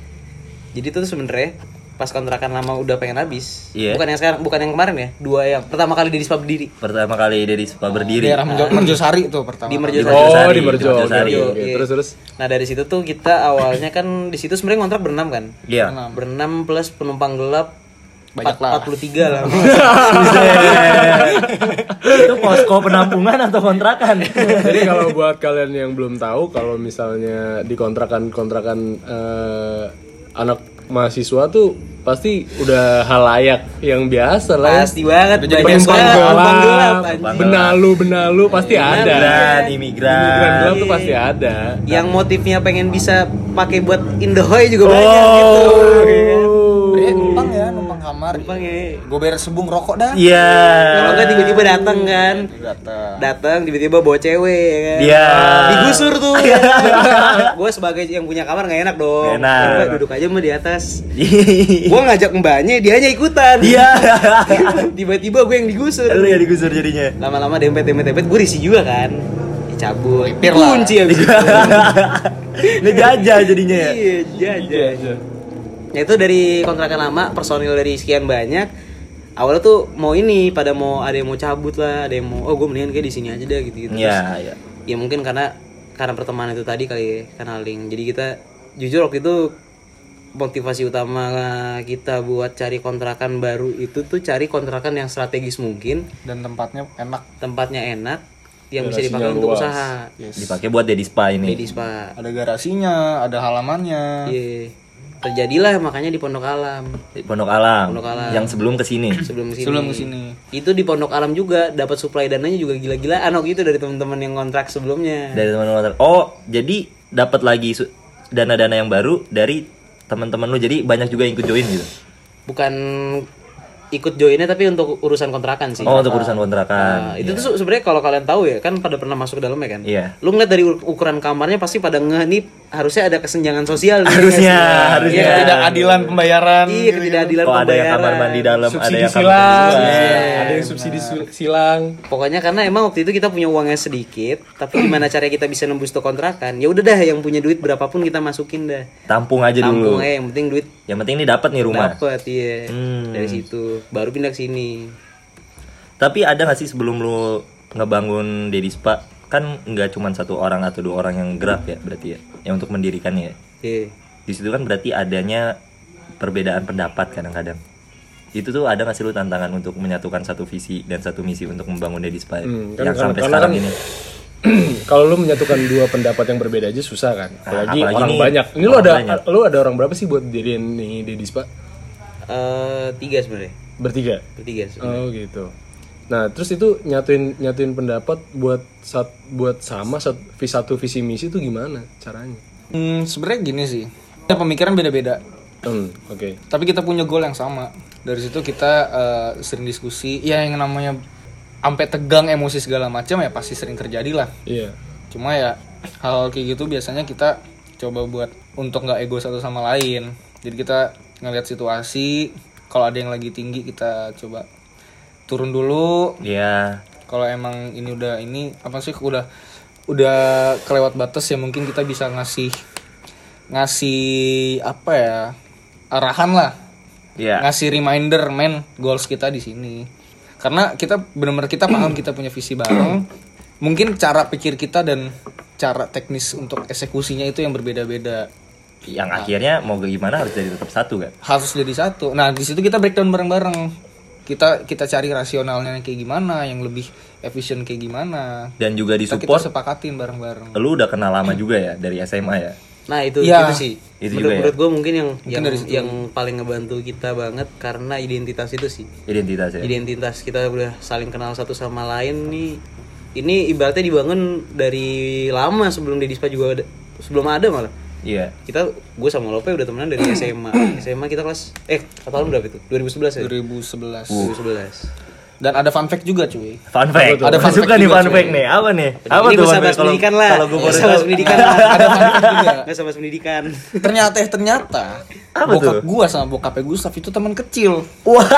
Speaker 3: jadi itu tuh sebenernya pas kontrakan lama udah pengen habis
Speaker 1: Iya.
Speaker 3: bukan yang sekarang bukan yang kemarin ya dua yang pertama kali di dispa berdiri
Speaker 1: Pertama kali dari spa berdiri.
Speaker 4: Daerah Merjo- Merjosari tuh pertama.
Speaker 1: Di
Speaker 3: di Merjosari
Speaker 2: Oh
Speaker 1: Merjosari,
Speaker 2: di Merjo, oke
Speaker 1: Merjosari.
Speaker 2: oke, oke.
Speaker 3: Iya.
Speaker 2: terus terus.
Speaker 3: nah dari situ tuh kita awalnya kan di situ sebenarnya kontrak berenam kan
Speaker 1: Iya.
Speaker 3: berenam plus penumpang gelap
Speaker 4: Banyak lah.
Speaker 3: 43 lah.
Speaker 1: Iya. itu posko penampungan atau kontrakan
Speaker 2: Jadi kalau buat kalian yang belum tahu, kalau misalnya di kontrakan-kontrakan eh, anak mahasiswa tuh pasti udah hal layak yang biasa lah. ya.
Speaker 3: Pasti banget
Speaker 2: Jadi
Speaker 3: banyak
Speaker 2: penumpang
Speaker 3: banget penumpang gelap,
Speaker 2: gelap,
Speaker 3: anjing.
Speaker 2: benalu benalu pasti
Speaker 1: Iya,
Speaker 2: ada.
Speaker 1: Imigran,
Speaker 2: Imigran
Speaker 1: imigran
Speaker 2: gelap tuh pasti ada.
Speaker 3: Yang motifnya pengen bisa pakai buat indohoy
Speaker 1: Oh.
Speaker 3: juga banyak gitu.
Speaker 4: Bre, numpang ya, numpang kamar.
Speaker 3: Numpang ya.
Speaker 4: Gue beres sebung rokok dah.
Speaker 1: iya
Speaker 3: gitu. Kalau enggak tiba-tiba datang kan.
Speaker 4: Datang.
Speaker 3: Datang tiba-tiba bawa cewek ya kan.
Speaker 1: Iya.
Speaker 3: Digusur tuh. gue sebagai yang punya kamar nggak enak
Speaker 1: Nggak
Speaker 3: dong.
Speaker 1: enak.
Speaker 3: Coba duduk aja mah di atas. gue ngajak mbaknya, dianya ikutan.
Speaker 1: iya
Speaker 3: tiba-tiba gue yang digusur.
Speaker 1: lu ya digusur jadinya
Speaker 3: Lama-lama dempet dempet dempet gue risih juga kan. Ya, cabut.
Speaker 4: Lipir lah.
Speaker 3: Kunci abis itu.
Speaker 1: ngejajah jadinya ya
Speaker 3: Iya, jajan. Ya itu dari kontrakan lama, personil dari sekian banyak. Awalnya tuh mau ini, pada mau ada yang mau cabut lah, ada yang mau oh gue mendingan kayak di sini aja deh gitu-gitu.
Speaker 1: iya
Speaker 3: Terus,
Speaker 1: iya
Speaker 3: Ya mungkin karena karena pertemanan itu tadi kali ya, karena link. Jadi kita jujur waktu itu motivasi utama kita buat cari kontrakan baru itu tuh cari kontrakan yang strategis mungkin,
Speaker 4: Dan tempatnya enak.
Speaker 3: tempatnya enak, yang bisa
Speaker 2: Lokasinya
Speaker 3: dipakai untuk
Speaker 2: luas.
Speaker 3: usaha.
Speaker 1: dipakai buat daddy spa ini
Speaker 3: Medis, Pak.
Speaker 4: Ada garasinya, ada halamannya.
Speaker 3: Iya. Terjadilah makanya di Pondok Alam.
Speaker 1: Di Pondok Alam,
Speaker 3: Pondok Alam.
Speaker 1: yang sebelum kesini
Speaker 3: sebelum kesini.
Speaker 4: Sebelum kesini.
Speaker 3: Itu di Pondok Alam juga dapat supply dananya juga gila-gilaan waktu itu dari teman-teman yang kontrak sebelumnya.
Speaker 1: dari teman-teman oh jadi dapat lagi su- dana-dana yang baru dari teman-teman lu jadi banyak juga yang ikut join gitu
Speaker 3: Bukan ikut joinnya tapi untuk urusan kontrakan sih.
Speaker 1: oh untuk urusan kontrakan
Speaker 3: Nah, itu tuh sebenarnya kalau kalian tahu ya kan pada pernah masuk ke dalamnya kan.
Speaker 1: Iya.
Speaker 3: Lu ngeliat dari ur- ukuran kamarnya pasti pada ngeh nih harusnya ada kesenjangan sosial nih,
Speaker 1: harusnya
Speaker 3: ya nggak sih?
Speaker 1: harusnya
Speaker 4: Ketidakadilan pembayaran.
Speaker 3: Iya, ketidakadilan
Speaker 1: oh ada yang
Speaker 3: pembayaran.
Speaker 1: kamar mandi dalam ada
Speaker 2: Subsidi
Speaker 1: yang kamar
Speaker 2: silang,
Speaker 1: mandi luar.
Speaker 2: ada yang subsidi sul- silang.
Speaker 3: Pokoknya karena emang waktu itu kita punya uangnya sedikit, tapi gimana cara kita bisa nembus tuh kontrakan? Ya udah dah yang punya duit berapapun kita masukin dah.
Speaker 1: tampung aja dulu
Speaker 3: Tampung aja yang penting duit
Speaker 1: yang penting ini dapat nih rumah
Speaker 3: Dapat iya.
Speaker 1: Hmm.
Speaker 3: Dari situ baru pindah ke sini.
Speaker 1: tapi ada nggak sih sebelum lu ngebangun Deddy Spa kan nggak cuma satu orang atau dua orang yang gerak ya berarti ya yang untuk mendirikannya ya
Speaker 3: Iya.
Speaker 1: di situ kan berarti adanya perbedaan pendapat kadang-kadang itu tuh ada nggak sih lu tantangan untuk menyatukan satu visi dan satu misi untuk membangun Deddy Spa ya?
Speaker 2: Hmm, kan-
Speaker 1: yang
Speaker 2: kan-
Speaker 1: sampai
Speaker 2: karena
Speaker 1: sekarang
Speaker 2: kan-
Speaker 1: ini
Speaker 2: kalau lu menyatukan dua pendapat yang berbeda aja susah kan apalagi,
Speaker 1: apalagi
Speaker 2: orang
Speaker 1: nih,
Speaker 2: banyak ini lu
Speaker 1: orang
Speaker 2: ada
Speaker 1: banyak.
Speaker 2: lu ada orang berapa sih buat diriin nih di dispa
Speaker 3: Eh, tiga sebenarnya.
Speaker 2: bertiga
Speaker 3: Bertiga. sebenarnya.
Speaker 2: oh gitu nah terus itu nyatuin nyatuin pendapat buat sat, buat sama sat, vi- satu visi misi itu gimana caranya
Speaker 4: Hmm, sebenarnya gini sih. Ada pemikiran beda-beda.
Speaker 2: hmm oke
Speaker 4: Tapi kita punya goal yang sama. Dari situ kita eh, sering diskusi. Ya yang namanya sampai tegang emosi segala macam ya pasti sering terjadi lah.
Speaker 2: iya
Speaker 4: Cuma ya hal kayak gitu biasanya kita coba buat untuk nggak ego satu sama lain. Jadi kita ngelihat situasi. Kalau ada yang lagi tinggi kita coba turun dulu.
Speaker 1: ya
Speaker 4: Kalau emang ini udah ini apa sih udah udah kelewat batas ya mungkin kita bisa ngasih ngasih apa ya arahan lah
Speaker 1: ya
Speaker 2: Iya,
Speaker 4: ngasih reminder men goals kita di sini karena kita benar-benar kita paham kita punya visi bareng mungkin cara pikir kita dan cara teknis untuk eksekusinya itu yang berbeda-beda
Speaker 1: yang akhirnya mau gimana harus jadi tetap satu kan
Speaker 4: harus jadi satu nah di situ kita breakdown bareng-bareng kita kita cari rasionalnya kayak gimana yang lebih efisien kayak gimana
Speaker 1: dan juga
Speaker 4: kita,
Speaker 1: disupport
Speaker 4: kita sepakatin bareng-bareng
Speaker 1: lu udah kenal lama juga ya dari SMA ya
Speaker 3: Nah itu
Speaker 4: Iya.
Speaker 3: itu sih.
Speaker 1: Itu juga
Speaker 3: menurut
Speaker 1: ya.
Speaker 3: menurut gue mungkin yang yang,
Speaker 4: dari situ.
Speaker 3: yang paling ngebantu kita banget karena identitas itu sih.
Speaker 1: identitas ya
Speaker 3: Identitas kita udah saling kenal satu sama lain nih. Ini ibaratnya dibangun dari lama sebelum di Dispa juga ada, sebelum ada malah.
Speaker 1: iya
Speaker 3: Kita gue sama Lope udah temenan dari SMA. SMA kita kelas eh tahun berapa itu?
Speaker 1: Iya.
Speaker 3: 2011 ya?
Speaker 4: 2011
Speaker 3: 2011.
Speaker 4: dan ada fun fact juga
Speaker 1: Uh.
Speaker 4: cuy
Speaker 1: Fun fact,
Speaker 4: Ada
Speaker 1: ada
Speaker 4: fun
Speaker 1: suka
Speaker 4: fact
Speaker 1: nih
Speaker 4: juga,
Speaker 1: fun
Speaker 4: cuy.
Speaker 1: fact nih, apa nih? Apa tuh
Speaker 3: ini gua
Speaker 1: fun
Speaker 3: sama
Speaker 1: fact?
Speaker 3: bahas pendidikan lah.
Speaker 1: kan, kalau gue
Speaker 3: Gua
Speaker 1: baru
Speaker 3: sama bahas
Speaker 1: tahu.
Speaker 3: pendidikan lah.
Speaker 4: ada fun fact juga
Speaker 3: Gak sama bahas pendidikan.
Speaker 4: ternyata eh ternyata
Speaker 1: Apa
Speaker 4: bokap
Speaker 1: tuh?
Speaker 4: gua sama bokapnya Gustaf itu teman kecil
Speaker 1: Wah,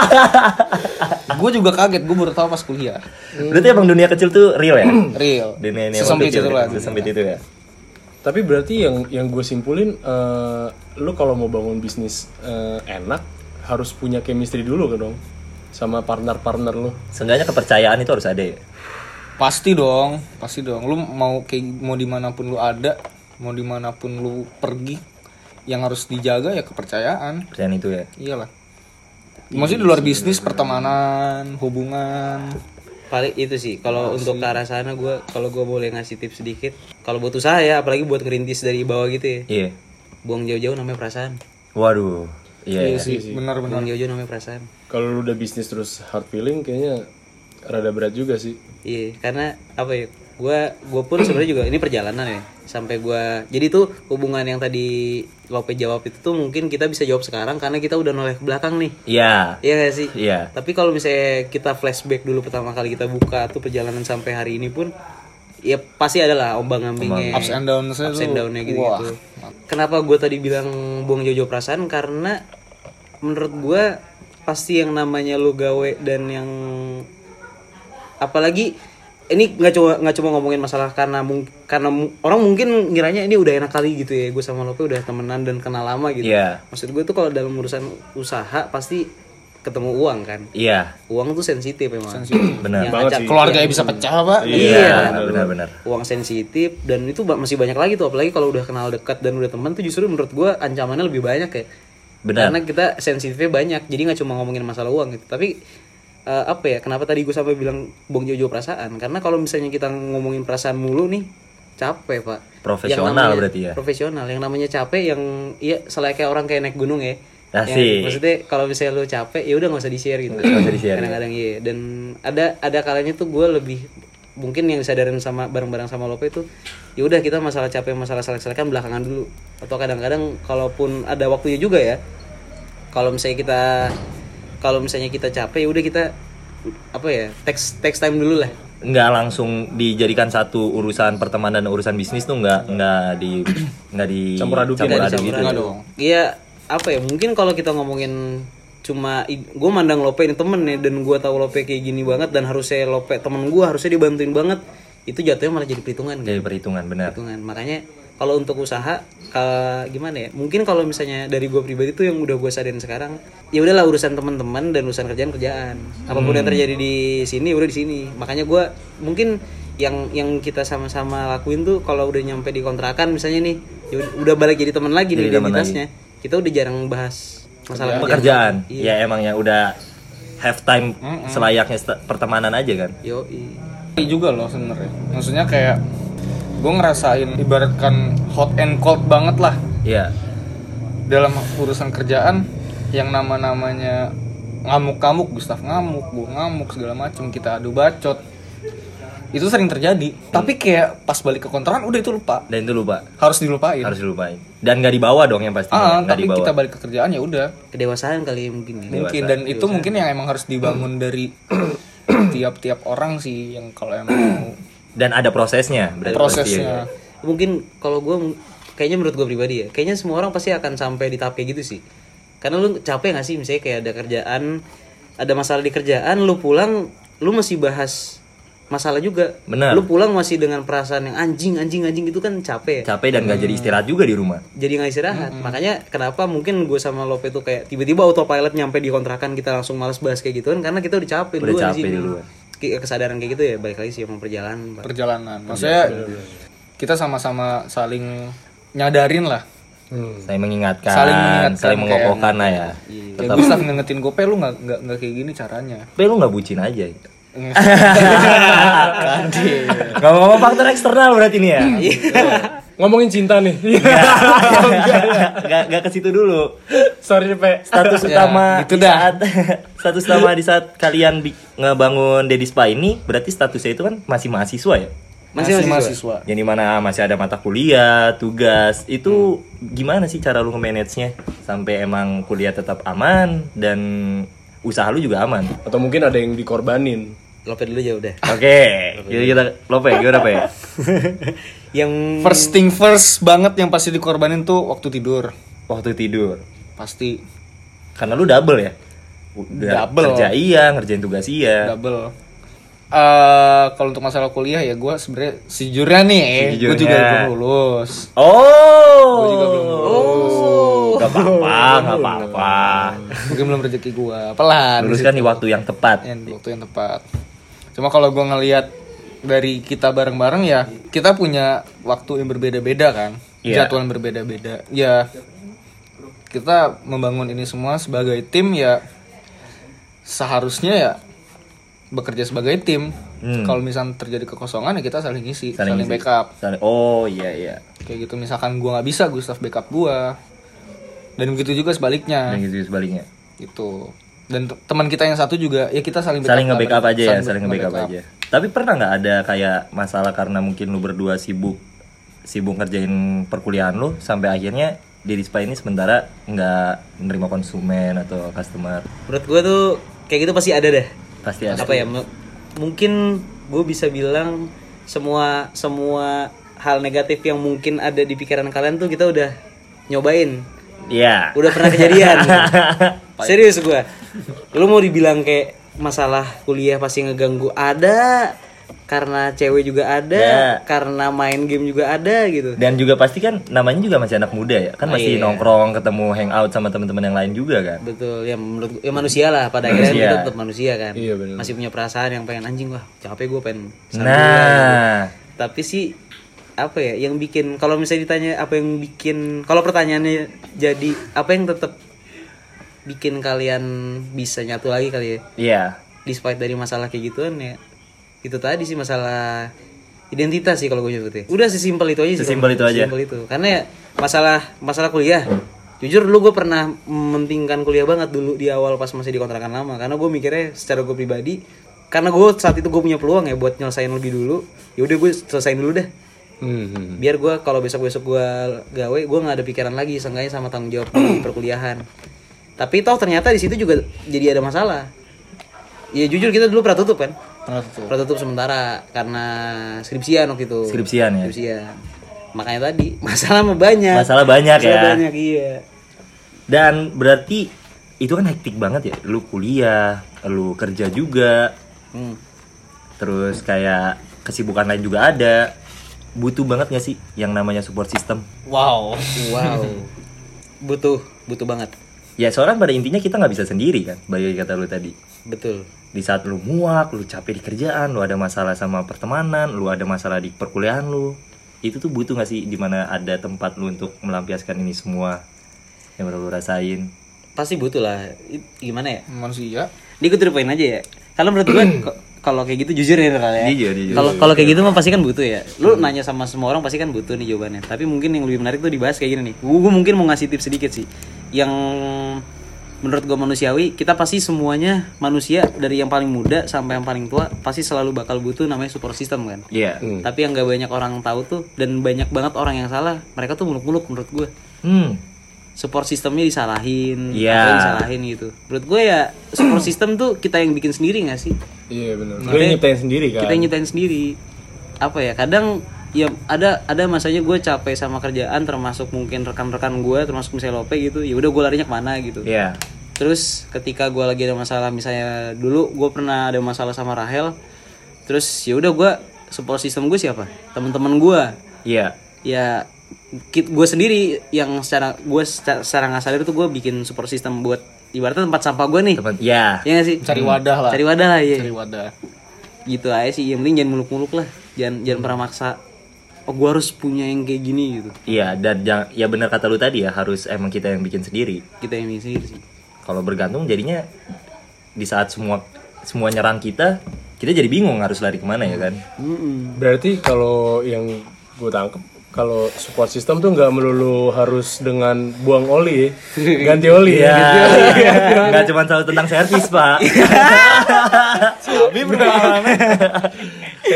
Speaker 4: gue juga kaget gue baru tahu pas kuliah
Speaker 1: berarti emang dunia kecil tuh real ya?
Speaker 4: real
Speaker 1: dunia ini emang
Speaker 4: sesempit
Speaker 1: kecil,
Speaker 4: itu lah
Speaker 1: Hmm. sesempit itu ya.
Speaker 2: tapi berarti yang yang gue simpulin eh, lu kalau mau bangun bisnis eh, enak harus punya chemistry dulu kan dong sama partner-partner lu
Speaker 1: Seenggaknya kepercayaan itu harus ada ya.
Speaker 4: pasti dong pasti dong lu mau kayak mau dimanapun lu ada mau dimanapun lu pergi yang harus dijaga ya kepercayaan
Speaker 1: Kepercayaan itu ya.
Speaker 4: iyalah Maksudnya di luar
Speaker 1: Iya,
Speaker 4: bisnis, pertemanan, hubungan.
Speaker 3: paling itu sih kalau untuk ke arah sana gue kalau gue boleh ngasih tips sedikit kalau buat usaha ya apalagi buat ngerintis dari bawah gitu ya
Speaker 1: Iya.
Speaker 3: buang jauh-jauh namanya perasaan
Speaker 1: Waduh. Iya.
Speaker 4: Iya sih, benar-benar.
Speaker 3: buang jauh-jauh namanya perasaan
Speaker 2: Kalau lu udah bisnis terus hard feeling kayaknya rada berat juga sih.
Speaker 3: Iya, karena apa ya? Gua gua pun sebenarnya juga ini perjalanan ya. Sampai gua jadi tuh hubungan yang tadi Lope jawab itu tuh mungkin kita bisa jawab sekarang karena kita udah noleh ke belakang nih.
Speaker 1: Iya.
Speaker 3: Iya gak sih?
Speaker 1: Iya.
Speaker 3: Tapi kalau misalnya kita flashback dulu pertama kali kita buka tuh perjalanan sampai hari ini pun ya pasti adalah ombang-ambingnya.
Speaker 4: Ups and downs-nya
Speaker 3: ups
Speaker 4: tuh,
Speaker 3: and down-nya gitu-gitu. Kenapa gue tadi bilang buang jauh-jauh perasaan karena menurut gue pasti yang namanya lu gawe dan yang apalagi ini nggak cuma nggak cuma ngomongin masalah karena mung- karena mu- orang mungkin ngiranya ini udah enak kali gitu ya gue sama Lope udah temenan dan kenal lama gitu
Speaker 1: Iya.
Speaker 3: maksud gue tuh kalau dalam urusan usaha pasti ketemu uang kan
Speaker 1: Iya.
Speaker 3: uang tuh sensitif memang
Speaker 1: Benar.
Speaker 2: Banget
Speaker 3: Yang ngajak-
Speaker 2: sih.
Speaker 4: Keluarganya bisa pecah, Pak.
Speaker 1: Iya. Benar-benar.
Speaker 3: uang sensitif dan itu ba- masih banyak lagi tuh apalagi kalau udah kenal dekat dan udah teman tuh justru menurut gue ancamannya lebih banyak ya
Speaker 1: Benar.
Speaker 3: karena kita sensitifnya banyak jadi nggak cuma ngomongin masalah uang gitu tapi eh, apa ya kenapa tadi gue sampai bilang bong jojo perasaan karena kalau misalnya kita ngomongin perasaan mulu nih capek pak
Speaker 1: Profesional
Speaker 3: Yang namanya-
Speaker 1: berarti ya?
Speaker 3: profesional yang namanya capek yang iya selain kayak orang kayak naik gunung ya
Speaker 1: Asik.
Speaker 3: Yang- maksudnya kalau misalnya lu capek ya udah nggak usah di share gitu
Speaker 1: Nggak usah di-share, ya.
Speaker 3: kadang-kadang iya dan ada ada kalanya tuh gue lebih mungkin yang disadarin sama bareng-bareng sama Lope itu ya udah kita masalah capek masalah selek-selekan belakangan dulu atau kadang-kadang kalaupun ada waktunya juga ya kalau misalnya kita kalau misalnya kita capek ya udah kita apa ya text text time dulu lah
Speaker 1: nggak langsung dijadikan satu urusan pertemanan dan urusan bisnis tuh nggak nggak di nggak di
Speaker 2: Campur adukin
Speaker 1: campur
Speaker 2: ya,
Speaker 1: aduk
Speaker 3: Campur
Speaker 1: gitu.
Speaker 3: aduk.
Speaker 4: dong.
Speaker 3: Iya, apa ya? Mungkin kalau kita ngomongin cuma gue mandang Lope ini temen ya dan gue tahu Lope kayak gini banget dan harusnya Lope temen gue harusnya dibantuin banget itu jatuhnya malah jadi perhitungan
Speaker 1: Jadi
Speaker 3: gitu
Speaker 1: perhitungan benar.
Speaker 3: perhitungan makanya kalau untuk usaha ka- gimana ya mungkin kalau misalnya dari gue pribadi tuh yang udah gue sadarin sekarang ya udahlah urusan teman-teman dan urusan kerjaan kerjaan apapun
Speaker 1: Hmm.
Speaker 3: yang terjadi di sini ya udah di sini makanya gue mungkin yang yang kita sama-sama lakuin tuh kalau udah nyampe di kontrakan misalnya nih ya ud- udah balik jadi teman lagi nih
Speaker 1: Jadi teman
Speaker 3: identitasnya kita udah jarang bahas masalah
Speaker 1: Pekerjaan. Ya emang ya udah have time selayaknya sta- pertemanan aja kan.
Speaker 3: yo
Speaker 4: Ini juga loh sebenarnya. Maksudnya kayak gue ngerasain ibaratkan hot and cold banget lah
Speaker 1: Iya.
Speaker 4: dalam urusan kerjaan yang nama-namanya ngamuk-ngamuk, Gustaf ngamuk, gue ngamuk segala macem kita adu bacot. Itu sering terjadi. Tapi kayak pas balik ke kontrakan udah itu lupa.
Speaker 1: Dan itu lupa.
Speaker 4: Harus dilupain.
Speaker 1: Harus dilupain. Dan nggak dibawa dong yang pasti.
Speaker 4: Iya. Ah,
Speaker 1: nggak
Speaker 4: tapi
Speaker 1: dibawa.
Speaker 4: kita balik ke kerjaan ya udah.
Speaker 3: kedewasaan kali ya mungkin ya.
Speaker 4: Mungkin dan itu mungkin yang emang harus dibangun dari tiap-tiap orang sih yang kalau emang
Speaker 3: Iya,
Speaker 4: mau
Speaker 1: Dan ada prosesnya. berarti pasti ya.
Speaker 4: prosesnya.
Speaker 3: mungkin kalau gue kayaknya menurut gue pribadi ya kayaknya semua orang pasti akan sampai di tahap kayak gitu sih karena lu capek gak sih misalnya kayak ada kerjaan ada masalah di kerjaan lu pulang lu masih bahas masalah juga
Speaker 1: Benar.
Speaker 3: lu pulang masih dengan perasaan yang anjing anjing anjing itu kan capek ya
Speaker 1: Capek dan nggak jadi istirahat juga di rumah.
Speaker 3: jadi nggak istirahat makanya kenapa mungkin gue sama Lope tuh kayak tiba-tiba autopilot nyampe di kontrakan kita langsung malas bahas kayak gitu kan karena kita udah capek
Speaker 1: Udah
Speaker 3: duluan di
Speaker 1: capek
Speaker 3: sini.
Speaker 1: duluan.
Speaker 3: Ke- kesadaran kayak gitu ya balik lagi sih mau perjalanan Pak.
Speaker 4: perjalanan. Maksudnya
Speaker 3: iya,
Speaker 4: kita sama-sama saling nyadarin lah.
Speaker 1: Saya mengingatkan.
Speaker 4: Saling mengingatkan,
Speaker 1: saling mengokohkan lah ya.
Speaker 3: Iya.
Speaker 4: Kayak Gustaf ngingetin gue, "Pe, lu nggak nggak nggak kayak gini caranya.
Speaker 1: Tapi lu nggak bucin aja. gitu.
Speaker 4: Anjir.
Speaker 1: Gak mau faktor eksternal berarti nih ya.
Speaker 4: Iya.
Speaker 2: Ngomongin cinta nih.
Speaker 1: gak, gak ke situ dulu.
Speaker 2: Sorry, Pe.
Speaker 1: Status
Speaker 4: Ya,
Speaker 1: utama
Speaker 4: gitu
Speaker 1: di
Speaker 4: dah.
Speaker 1: saat status utama di saat kalian bi- ngebangun Dedi Spa ini berarti statusnya itu kan masih mahasiswa ya.
Speaker 3: Masih-
Speaker 4: Masih
Speaker 3: masih-
Speaker 4: mahasiswa.
Speaker 1: Yang dimana masih ada mata kuliah, tugas, itu
Speaker 4: Hmm.
Speaker 1: gimana sih cara lu nge-manage-nya sampai emang kuliah tetap aman dan usaha lu juga aman.
Speaker 2: Atau mungkin ada yang dikorbanin.
Speaker 3: Lope dulu ya udah
Speaker 1: Oke, jadi kita Lope, gimana Pe?
Speaker 3: yang
Speaker 4: First thing first banget yang pasti dikorbanin tuh waktu tidur.
Speaker 1: Waktu tidur.
Speaker 4: Pasti
Speaker 1: Karena lu double ya? Udah
Speaker 4: Double.
Speaker 1: Kerja iya, ngerjain tugas
Speaker 3: Ya.
Speaker 1: iya.
Speaker 4: double. Eh kalau untuk masalah kuliah ya gue sebenarnya sejujurnya nih, gue juga
Speaker 1: Sejujurnya.
Speaker 4: belum lulus.
Speaker 1: Oh.
Speaker 4: Gua juga belum lulus.
Speaker 1: Gak apa-apa, gak apa-apa.
Speaker 4: Mungkin belum rezeki gue. Pelan.
Speaker 1: Luruskan di waktu yang tepat.
Speaker 4: yang waktu yang tepat. Cuma kalau gue ngelihat dari kita bareng-bareng ya, kita punya waktu yang berbeda-beda kan,
Speaker 1: Iya.
Speaker 4: jadwal yang berbeda-beda. Ya, kita membangun ini semua sebagai tim ya seharusnya ya bekerja sebagai tim.
Speaker 1: Hmm.
Speaker 4: Kalau misalnya terjadi kekosongan ya kita saling ngisi,
Speaker 1: Saling
Speaker 4: saling,
Speaker 1: ngisi.
Speaker 4: backup.
Speaker 1: Saling- oh iya iya
Speaker 4: Kayak gitu misalkan gua nggak bisa, Gustaf backup gua. Dan begitu juga sebaliknya.
Speaker 1: dan gitu sebaliknya
Speaker 4: Gitu. Dan te- teman kita yang satu juga ya kita saling
Speaker 1: saling
Speaker 4: backup
Speaker 1: nge-backup
Speaker 4: lah.
Speaker 1: aja ya saling nge-backup
Speaker 4: nge-backup.
Speaker 1: aja tapi pernah nggak ada kayak masalah karena mungkin lu berdua sibuk sibuk ngerjain perkuliahan lu sampai akhirnya di Rispa ini sementara nggak menerima konsumen atau customer
Speaker 3: Menurut gue tuh kayak gitu pasti ada deh.
Speaker 1: pasti ada
Speaker 3: Apa ya? mu- Mungkin gue bisa bilang semua semua hal negatif yang mungkin ada di pikiran kalian tuh kita udah nyobain.
Speaker 1: iya
Speaker 3: Udah pernah kejadian. Serius gue. Lu mau dibilang kayak masalah kuliah pasti ngeganggu ada karena cewek juga ada,
Speaker 1: Ya.
Speaker 3: karena main game juga ada gitu.
Speaker 1: dan juga pasti kan namanya juga masih anak muda ya kan masih nongkrong ketemu hangout sama teman-teman yang lain juga kan
Speaker 3: Betul, ya menurut ya manusia lah pada akhirnya
Speaker 1: Manusia.
Speaker 3: kita tetap manusia kan.
Speaker 2: Iya, bener.
Speaker 3: Masih punya perasaan yang pengen anjing wah, capek gue pengen. sambung lah, gitu.
Speaker 1: nah
Speaker 3: Tapi sih apa ya yang bikin kalau misalnya ditanya apa yang bikin kalau pertanyaannya jadi apa yang tetap bikin kalian bisa nyatu lagi kali ya
Speaker 1: iya
Speaker 3: despite dari masalah kayak gituan ya itu tadi sih masalah identitas sih kalau gue nyebutnya udah sesimpel itu aja sih
Speaker 1: Sesimpel
Speaker 3: kalau-
Speaker 1: itu aja.
Speaker 3: sesimpel itu karena ya masalah masalah kuliah jujur dulu gue pernah mementingkan kuliah banget dulu di awal pas masih di kontrakan lama karena gue mikirnya secara gue pribadi karena gue saat itu gue punya peluang ya buat nyelesain lebih dulu ya udah gue selesain dulu deh
Speaker 2: Hmm.
Speaker 3: biar gue kalau besok besok gue gawe gue nggak ada pikiran lagi seenggaknya sama tanggung jawab di perkuliahan tapi toh ternyata di situ juga jadi ada masalah ya jujur kita dulu pernah tutup kan
Speaker 4: Pernah tuh.
Speaker 3: pernah tutup sementara karena skripsian waktu itu
Speaker 1: Skripsian ya?
Speaker 3: Skripsian. makanya tadi masalah mah banyak
Speaker 1: Masalah banyak
Speaker 3: Masalah
Speaker 1: ya.
Speaker 3: banyak iya
Speaker 1: Dan berarti itu kan hektik banget ya. Lu kuliah, lu kerja juga,
Speaker 3: Hmm.
Speaker 1: terus kayak kesibukan lain juga ada. Butuh banget gak sih yang namanya support system?
Speaker 4: Wow.
Speaker 3: wow butuh butuh banget
Speaker 1: Ya soalnya pada intinya kita nggak bisa sendiri kan, bagi kata lu tadi.
Speaker 3: betul
Speaker 1: Di saat lu muak, lu capek di kerjaan, lu ada masalah sama pertemanan, lu ada masalah di perkuliahan lu. Itu tuh butuh gak sih dimana ada tempat lu untuk melampiaskan ini semua yang baru lu rasain?
Speaker 3: pasti butuh lah I- gimana ya
Speaker 4: Manusia.
Speaker 3: Ini gue to the point aja ya. Kalau menurut gue ko- kalau kayak gitu jujur ya kalau ya.
Speaker 1: Jujur, jujur. Hmm.
Speaker 3: Kalau kalau kayak gitu mah pasti kan butuh ya. Lu nanya sama semua orang pasti kan butuh nih jawabannya. Tapi mungkin yang lebih menarik tuh dibahas kayak gini nih. Gue mungkin mau ngasih tips sedikit sih. Yang menurut gue manusiawi, kita pasti semuanya manusia dari yang paling muda sampai yang paling tua pasti selalu bakal butuh namanya support system kan.
Speaker 1: Iya.
Speaker 3: Tapi yang gak banyak orang tahu tuh dan banyak banget orang yang salah, mereka tuh muluk-muluk menurut gue
Speaker 1: Hmm.
Speaker 3: support sistemnya disalahin,
Speaker 1: Iya.
Speaker 3: apa yang disalahin gitu. Menurut gue ya support system tuh kita yang bikin sendiri gak sih?
Speaker 2: Iya benar. Lu
Speaker 3: Makanya
Speaker 2: yang nyiptain sendiri kan.
Speaker 3: Kita yang nyetain sendiri. Apa ya? Kadang ya ada ada masanya gue capek sama kerjaan termasuk mungkin rekan-rekan gue termasuk misalnya Lope gitu ya udah gue larinya kemana gitu
Speaker 1: Iya.
Speaker 3: terus ketika gue lagi ada masalah misalnya dulu gue pernah ada masalah sama Rahel terus ya udah gue support system gue siapa teman-teman gue
Speaker 1: Iya.
Speaker 3: ya gue sendiri yang secara gue secara, secara nggak sadar tuh gue bikin support system buat ibaratnya tempat sampah gue nih
Speaker 1: Tempat ya.
Speaker 3: ya nggak sih
Speaker 4: Cari wadah lah.
Speaker 3: cari wadah lah iya
Speaker 4: Cari wadah.
Speaker 3: gitu aja sih yang penting jangan muluk-muluk lah jangan jangan pernah maksa oh gue harus punya yang kayak gini gitu
Speaker 1: Iya, dan jang- ya benar kata lu tadi ya, harus emang kita yang bikin sendiri.
Speaker 3: kita yang bikin sendiri sih
Speaker 1: Kalau bergantung jadinya di saat semua semua nyerang kita, kita jadi bingung harus lari kemana ya kan?
Speaker 2: Berarti kalau yang gue tangkep kalau support system tuh nggak melulu harus dengan buang oli, ganti oli ya gitu.
Speaker 1: Iya, nggak cuma selalu tentang servis pak.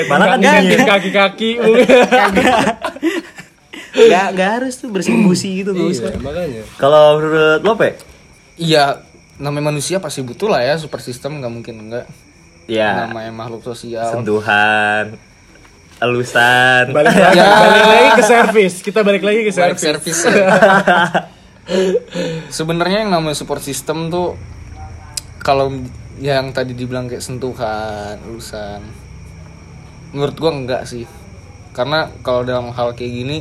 Speaker 1: Malah kan
Speaker 2: Ganti kaki-kaki mungkin.
Speaker 3: nggak nggak harus tuh bersih-bersih gitu nggak usah
Speaker 2: Iya, makanya.
Speaker 1: Kalau menurut lo Pe?
Speaker 4: Iya, namanya manusia pasti butuh lah ya super system nggak mungkin enggak.
Speaker 1: Ya,
Speaker 4: Namanya makhluk sosial.
Speaker 1: sentuhan, elusan.
Speaker 2: Balik lagi, balik lagi ke servis. Kita balik lagi ke
Speaker 4: Balik
Speaker 2: servis.
Speaker 4: service. Sebenarnya yang namanya support system tuh kalau yang tadi dibilang kayak sentuhan, urusan. Menurut gua enggak sih. Karena kalau dalam hal kayak gini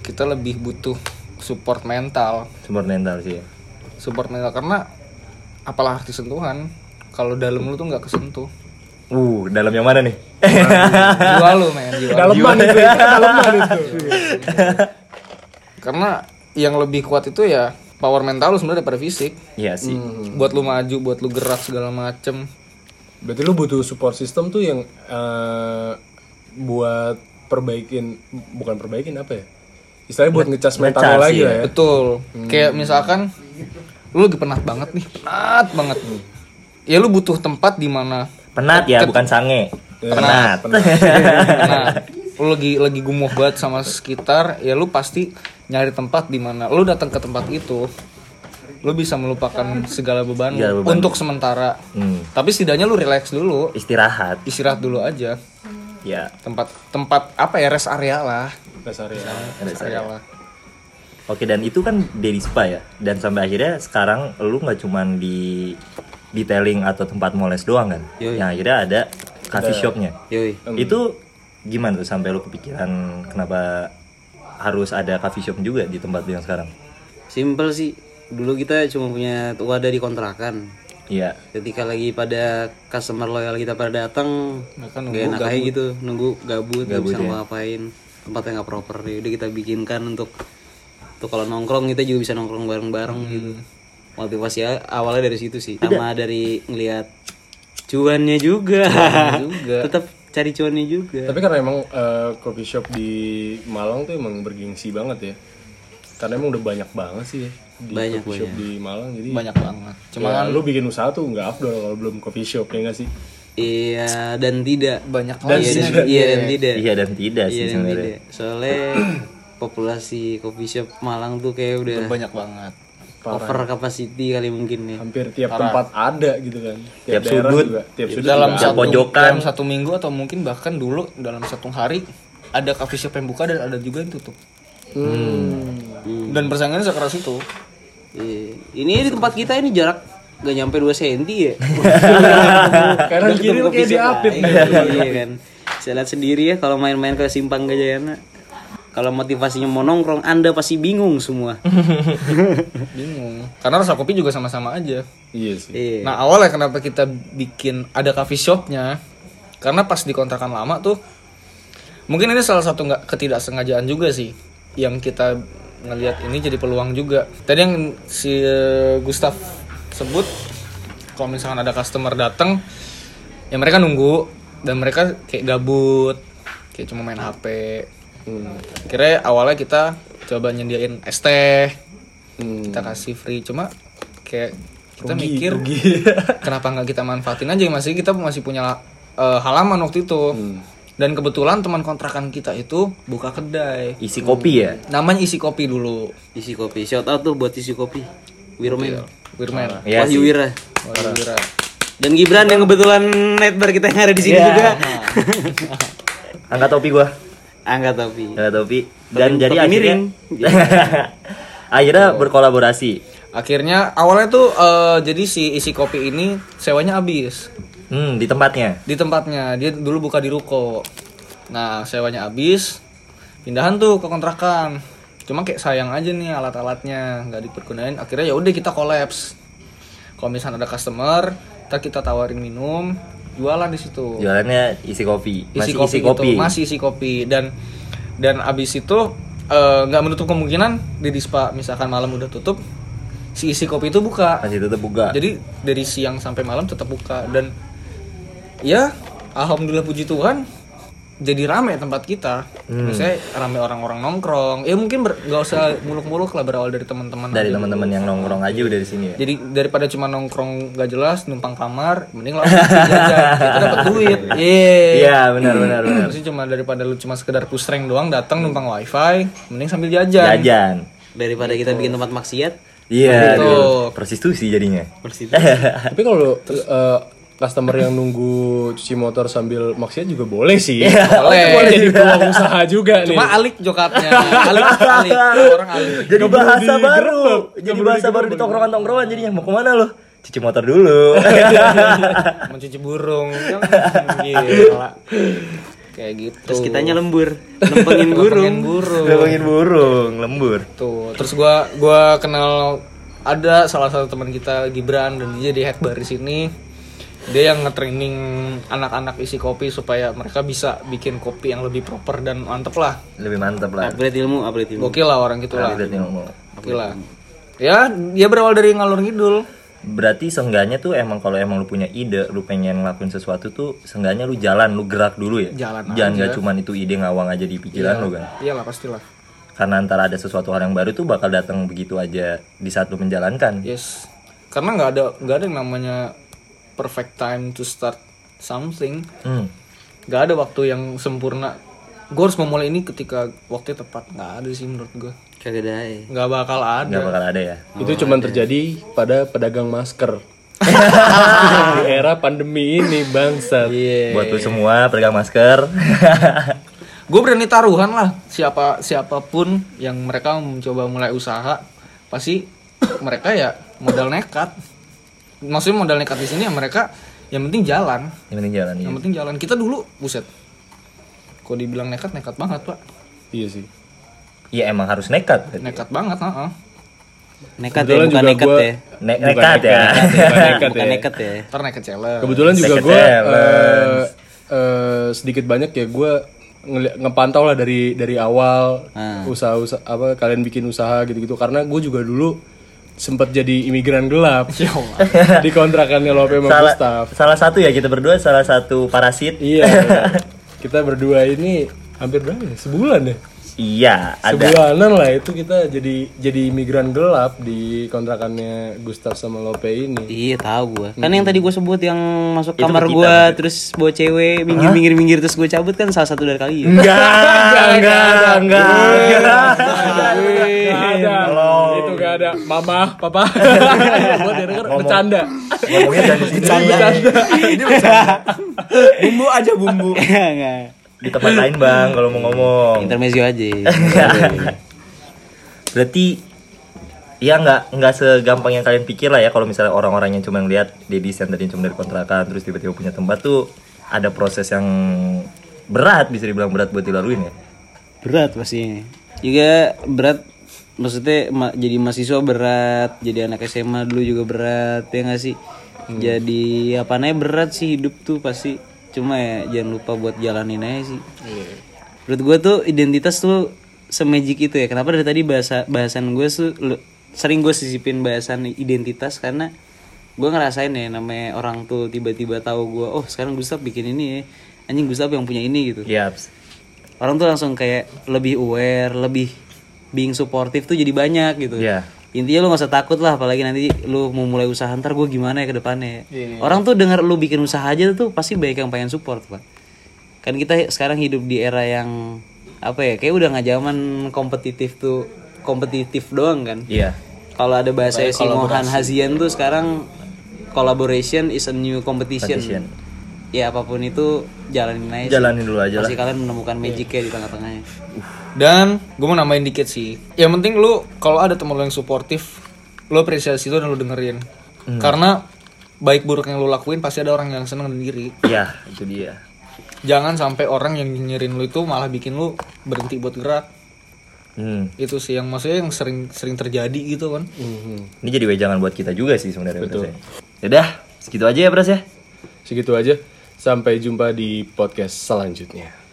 Speaker 4: kita lebih butuh support mental.
Speaker 1: Sumber mental sih. ya.
Speaker 4: Support mental karena apalah arti sentuhan kalau dalam lu tuh nggak kesentuh.
Speaker 1: Uh, dalam yang mana nih?
Speaker 4: Jiwa lu men, jiwa lu.
Speaker 2: Daleman itu, ya, daleman itu.
Speaker 4: karena yang lebih kuat itu ya power mental lu sebenarnya daripada fisik.
Speaker 1: Iya sih.
Speaker 4: Buat lu maju, buat lu gerak segala macem.
Speaker 2: Berarti lu butuh support system tuh yang eh, buat perbaikin bukan perbaikin apa ya? Istilahnya buat ngecas mental lu
Speaker 1: ngecas,
Speaker 2: lagi
Speaker 1: iya.
Speaker 2: lah ya.
Speaker 4: Betul. Kayak misalkan lu lagi penat banget nih, penat banget. Ya lu butuh tempat di mana
Speaker 1: Penat ya, bukan sange. Iya. Penat.
Speaker 4: nah lu lagi lagi gumoh banget sama sekitar ya lu pasti nyari tempat di mana lu datang ke tempat itu lu bisa melupakan segala beban, lu
Speaker 1: Segala beban.
Speaker 4: untuk sementara
Speaker 1: Hmm,
Speaker 4: tapi setidaknya lu relax dulu
Speaker 1: istirahat.
Speaker 4: istirahat dulu aja
Speaker 1: Ya.
Speaker 4: tempat tempat apa ya rest area lah
Speaker 2: Dasarnya.
Speaker 1: ada
Speaker 4: rest
Speaker 1: saya.
Speaker 4: area lah
Speaker 1: Oke dan itu kan Dedi Spa ya dan sampai akhirnya sekarang lu nggak cuman di detailing atau tempat moles doang kan
Speaker 3: Yoi.
Speaker 1: yang akhirnya ada coffee shopnya
Speaker 3: Yoi.
Speaker 1: itu gimana tuh sampai lu kepikiran kenapa harus ada coffee shop juga di tempat lu yang sekarang
Speaker 3: Simple sih. Dulu kita cuma punya wadah di kontrakan.
Speaker 1: Iya
Speaker 3: Ketika lagi pada customer loyal kita pada datang,
Speaker 4: Mereka
Speaker 3: gak enak aja gitu, nunggu gabut, nggak
Speaker 1: Gabut ya.
Speaker 3: bisa ngapain, tempatnya nggak proper. Ya udah kita bikinkan untuk untuk kalau nongkrong kita juga bisa nongkrong bareng-bareng
Speaker 1: Hmm.
Speaker 3: gitu. Motivasi a- awalnya dari situ sih, sama dari ngelihat cuannya juga.
Speaker 4: juga.
Speaker 3: Tetap cari cuannya juga.
Speaker 2: Tapi karena emang eh, coffee shop di Malang tuh emang bergengsi banget ya. Karena emang udah banyak banget sih ya
Speaker 1: gitu
Speaker 2: di
Speaker 3: Banyak,
Speaker 2: coffee shop di Malang jadi
Speaker 4: banyak banget cuma
Speaker 2: ya, lu bikin usaha tuh nggak afdol kalau belum coffee shop ya nggak sih?
Speaker 3: Iya dan tidak.
Speaker 4: banyak
Speaker 3: Iya,
Speaker 4: lagi
Speaker 3: dan- iya dan tidak.
Speaker 1: Oh, iya dan tidak sih
Speaker 3: Iya dan
Speaker 1: sebenarnya
Speaker 3: tidak. Soalnya populasi coffee shop Malang tuh kayak udah
Speaker 4: banyak banget
Speaker 3: over capacity kali mungkin ya.
Speaker 2: Hampir tiap tempat ada gitu kan.
Speaker 1: Tiap
Speaker 2: daerah
Speaker 1: sudut.
Speaker 2: juga, tiap sudut
Speaker 4: dalam
Speaker 1: juga.
Speaker 4: satu
Speaker 1: Pojokan.
Speaker 4: dalam satu minggu atau mungkin bahkan dulu dalam satu hari ada coffee shop yang buka dan ada juga yang tutup dan persaingannya sekeras itu
Speaker 3: Iya. Ini di tempat kita ini jarak gak nyampe 2 cm ya.
Speaker 2: Kanan kiri lu kayak di update.
Speaker 3: iya kan. Saya lihat sendiri ya kalau main-main ke Simpang Gajayana. Kalau motivasinya mau nongkrong, Anda pasti bingung semua.
Speaker 4: bingung karena rasa kopi juga sama-sama aja
Speaker 2: Iya sih.
Speaker 3: Iya.
Speaker 4: nah awalnya kenapa kita bikin ada coffee shopnya karena pas di kontrakan lama tuh mungkin ini salah satu nggak ketidaksengajaan juga sih yang kita ngelihat ini jadi peluang juga tadi yang si eh, Gustaf sebut kalau misalkan ada customer datang ya mereka nunggu dan mereka kayak gabut kayak cuma main HP kira awalnya kita coba nyediain es teh kita kasih free cuma kayak kita mikir kenapa nggak kita manfaatin aja masih kita masih punya eh, halaman waktu itu dan kebetulan teman kontrakan kita itu buka kedai
Speaker 1: isi kopi ya
Speaker 4: namanya isi kopi dulu
Speaker 3: Isi kopi. Shout out tuh buat isi kopi. Wirman.
Speaker 4: Wirman
Speaker 1: Iya
Speaker 3: Wahyu
Speaker 1: sih.
Speaker 3: Wira.
Speaker 4: Wahyu Wira.
Speaker 3: Dan Gibran yang kebetulan netbar kita yang ada di sini
Speaker 1: Iya.
Speaker 3: juga.
Speaker 1: angkat topi gua
Speaker 3: Angkat topi.
Speaker 1: angkat topi dan
Speaker 3: Topi-
Speaker 1: jadi akhirnya
Speaker 3: topi miring.
Speaker 1: akhirnya berkolaborasi
Speaker 4: akhirnya awalnya tuh eh, jadi si isi kopi ini sewanya habis
Speaker 1: hmm di tempatnya
Speaker 4: di tempatnya dia dulu buka di ruko nah sewanya habis pindahan tuh ke kontrakan cuma kayak sayang aja nih alat-alatnya nggak dipergunain akhirnya ya udah kita kolaps kalau misalnya ada customer ntar kita tawarin minum jualan di situ
Speaker 1: jualannya isi kopi Ya, masih
Speaker 4: isi kopi,
Speaker 1: isi kopi,
Speaker 4: gitu masih isi kopi dan dan abis itu eh, nggak menutup kemungkinan di dispa misalkan malam udah tutup si isi kopi itu buka
Speaker 1: masih tetap buka
Speaker 4: jadi dari siang sampai malam tetap buka dan ya alhamdulillah puji Tuhan jadi rame tempat kita
Speaker 1: Hmm.
Speaker 4: misalnya rame orang-orang nongkrong ya mungkin ber- nggak usah muluk-muluk lah berawal dari teman-teman
Speaker 1: dari
Speaker 4: aja.
Speaker 1: teman-teman yang nongkrong aja udah di sini ya.
Speaker 4: jadi daripada cuma nongkrong gak jelas numpang kamar mending langsung jajan kita dapat duit Yeay.
Speaker 1: Iya, benar benar benar.
Speaker 4: Maksudnya cuma daripada lu cuma sekedar pusreng doang datang numpang wifi, mending sambil jajan.
Speaker 1: Jajan.
Speaker 3: Daripada kita bikin tempat maksiat,
Speaker 1: Iya,
Speaker 4: Gitu.
Speaker 1: aduh. prostitusi jadinya.
Speaker 3: bersih.
Speaker 2: Tapi kalau eh, customer yang nunggu cuci motor sambil maksiat juga boleh sih.
Speaker 4: Boleh.
Speaker 2: Itu boleh jadi peluang usaha juga
Speaker 4: Cuma
Speaker 2: nih.
Speaker 4: alik jokatnya, alik, alik, orang alik.
Speaker 1: Jadi
Speaker 2: Nggak perlu
Speaker 1: bahasa
Speaker 2: di
Speaker 1: baru.
Speaker 2: gerlep, nggak
Speaker 1: Jadi
Speaker 2: perlu
Speaker 1: bahasa
Speaker 2: di
Speaker 1: baru di
Speaker 2: gerlep.
Speaker 1: tongkrongan-tongkrongan jadinya mau kemana lo? Cuci motor dulu.
Speaker 4: Mencuci burung. Gila. Kayak gitu.
Speaker 3: Terus kitanya lembur, nempengin burung.
Speaker 4: Nempengin burung.
Speaker 1: Ngomongin burung, lembur.
Speaker 4: Tuh, terus gua gua kenal ada salah satu teman kita Gibran dan dia jadi head bar di sini. Dia yang nge-training anak-anak isi kopi supaya mereka bisa bikin kopi yang lebih proper dan mantep lah.
Speaker 1: Lebih mantap lah.
Speaker 3: Upgrade ilmu, upgrade ilmu.
Speaker 4: Gokil lah orang gitu lah.
Speaker 1: Upgrade ilmu.
Speaker 4: Oke lah. Ya, dia berawal dari ngalur ngidul.
Speaker 1: Berarti seenggaknya tuh emang kalau emang lu punya ide, lu pengen ngelakuin sesuatu tuh seenggaknya lu jalan, lu gerak dulu ya.
Speaker 4: Jalan Iya.
Speaker 1: Jangan nggak cuman itu ide ngawang aja di pikiran lu kan.
Speaker 4: Iyalah pastilah.
Speaker 1: Karena antara ada sesuatu hal yang baru tuh bakal datang begitu aja di saat lu menjalankan.
Speaker 4: Yes. Karena nggak ada nggak ada yang namanya perfect time to start something.
Speaker 1: Hmm.
Speaker 4: Nggak ada waktu yang sempurna. Gue harus memulai ini ketika waktunya tepat. Nggak ada sih menurut gue.
Speaker 3: Kagak ada. eh.
Speaker 4: Nggak bakal ada.
Speaker 1: Nggak bakal ada ya.
Speaker 2: itu cuman terjadi pada pedagang masker di era pandemi ini bangsat
Speaker 4: Iya,
Speaker 1: Buat lu semua pegang masker.
Speaker 4: Gue berani taruhan lah siapa siapapun yang mereka mencoba mulai usaha pasti mereka ya modal nekat. Maksudnya modal nekat di sini ya mereka yang penting jalan.
Speaker 1: yang penting jalan ya.
Speaker 4: Yang penting jalan. Kita dulu buset. Kok dibilang nekat nekat banget, Pak.
Speaker 2: iya sih
Speaker 1: Iya emang harus nekat.
Speaker 4: Nekat banget, heeh.
Speaker 3: Nekat ya,
Speaker 2: Kebetulan
Speaker 3: bukan
Speaker 2: juga
Speaker 3: nekat
Speaker 2: gua-
Speaker 3: ya.
Speaker 1: Ne-
Speaker 2: Bukan
Speaker 1: nekat ya.
Speaker 2: bukan nekat
Speaker 3: Bukan
Speaker 2: ya.
Speaker 3: nekat ya.
Speaker 4: Ntar nekat challenge.
Speaker 2: Kebetulan juga
Speaker 1: Second
Speaker 2: gue
Speaker 1: challenge.
Speaker 2: sedikit banyak ya gue ngepantau lah dari dari awal
Speaker 1: Ah.
Speaker 2: usaha-usaha apa kalian bikin usaha gitu-gitu karena gue juga dulu sempat jadi imigran gelap di kontrakannya Lope sama
Speaker 1: Ya Salah,
Speaker 2: Gustaf.
Speaker 1: salah satu ya kita berdua salah satu parasit.
Speaker 2: Iya. kita berdua ini hampir berapa ya? Sebulan ya?
Speaker 1: Iya, ada.
Speaker 2: Sebulanan lah itu kita jadi jadi imigran gelap di kontrakannya Gustaf sama Lope ini.
Speaker 3: Iya tahu gua. Kan yang tadi gua sebut yang masuk kamar
Speaker 1: kita,
Speaker 3: gua terus bawa cewek minggir-minggir minggir terus gua cabut kan salah satu dari kalian.
Speaker 1: Enggak, enggak, enggak.
Speaker 2: ada. Itu gak ada. Mama, papa. Buat dia denger bercanda.
Speaker 1: Ngomongnya jangan di sini.
Speaker 4: bumbu aja bumbu.
Speaker 3: Enggak.
Speaker 1: Di tempat lain, Bang, kalau mau ngomong.
Speaker 3: Intermezzo aja.
Speaker 1: Berarti ya nggak nggak segampang yang kalian pikir lah ya kalau misalnya orang-orang yang cuma ngeliat Deddy yang tadi cuma dari kontrakan terus tiba-tiba punya tempat tuh ada proses yang berat bisa dibilang berat buat dilaluin ya.
Speaker 3: berat pastinya. Juga berat maksudnya ma- jadi mahasiswa berat, jadi anak SMA dulu juga berat ya nggak sih? Jadi apa namanya berat sih hidup tuh pasti. Cuma ya jangan lupa buat jalanin aja sih. Menurut gue tuh identitas tuh semagic itu ya. Kenapa dari tadi bahasa bahasan gue tuh lu- sering gue sisipin bahasan identitas karena gue ngerasain ya namanya orang tuh tiba-tiba tahu gue oh sekarang Gustaf bikin ini ya anjing Gustaf yang punya ini gitu
Speaker 1: Yaps.
Speaker 3: orang tuh langsung kayak lebih aware, lebih being supportive tuh jadi banyak gitu.
Speaker 1: Iya.
Speaker 3: Intinya lu gak usah takut lah, apalagi nanti lu mau mulai usaha ntar gue gimana ya ke depannya. Orang tuh denger lu bikin usaha aja tuh pasti banyak yang pengen support pak. Kan kita sekarang hidup di era yang apa ya, kayak udah nggak zaman kompetitif tuh kompetitif doang kan.
Speaker 1: Iya.
Speaker 3: Kalau ada bahasa Simohan Hazian tuh sekarang collaboration is a new competition. Ya apapun itu jalanin aja. sih.
Speaker 1: Jalanin dulu aja lah.
Speaker 3: Pasti kalian menemukan magic ya di tengah-tengahnya.
Speaker 4: Dan gue mau nambahin dikit sih. Yang penting lu kalau ada temen lu yang suportif, lu apresiasi itu dan lu dengerin. Karena baik buruk yang lu lakuin pasti ada orang yang seneng sendiri.
Speaker 1: Iya, itu dia.
Speaker 4: Jangan sampai orang yang nyinyirin lu itu malah bikin lu berhenti buat gerak.
Speaker 1: Hmm.
Speaker 4: Itu sih yang maksudnya yang sering sering terjadi gitu kan.
Speaker 1: Ini jadi wejangan buat kita juga sih sebenarnya. Betul. Yaudah, segitu aja ya Pras ya.
Speaker 2: Segitu aja. Sampai jumpa di podcast selanjutnya.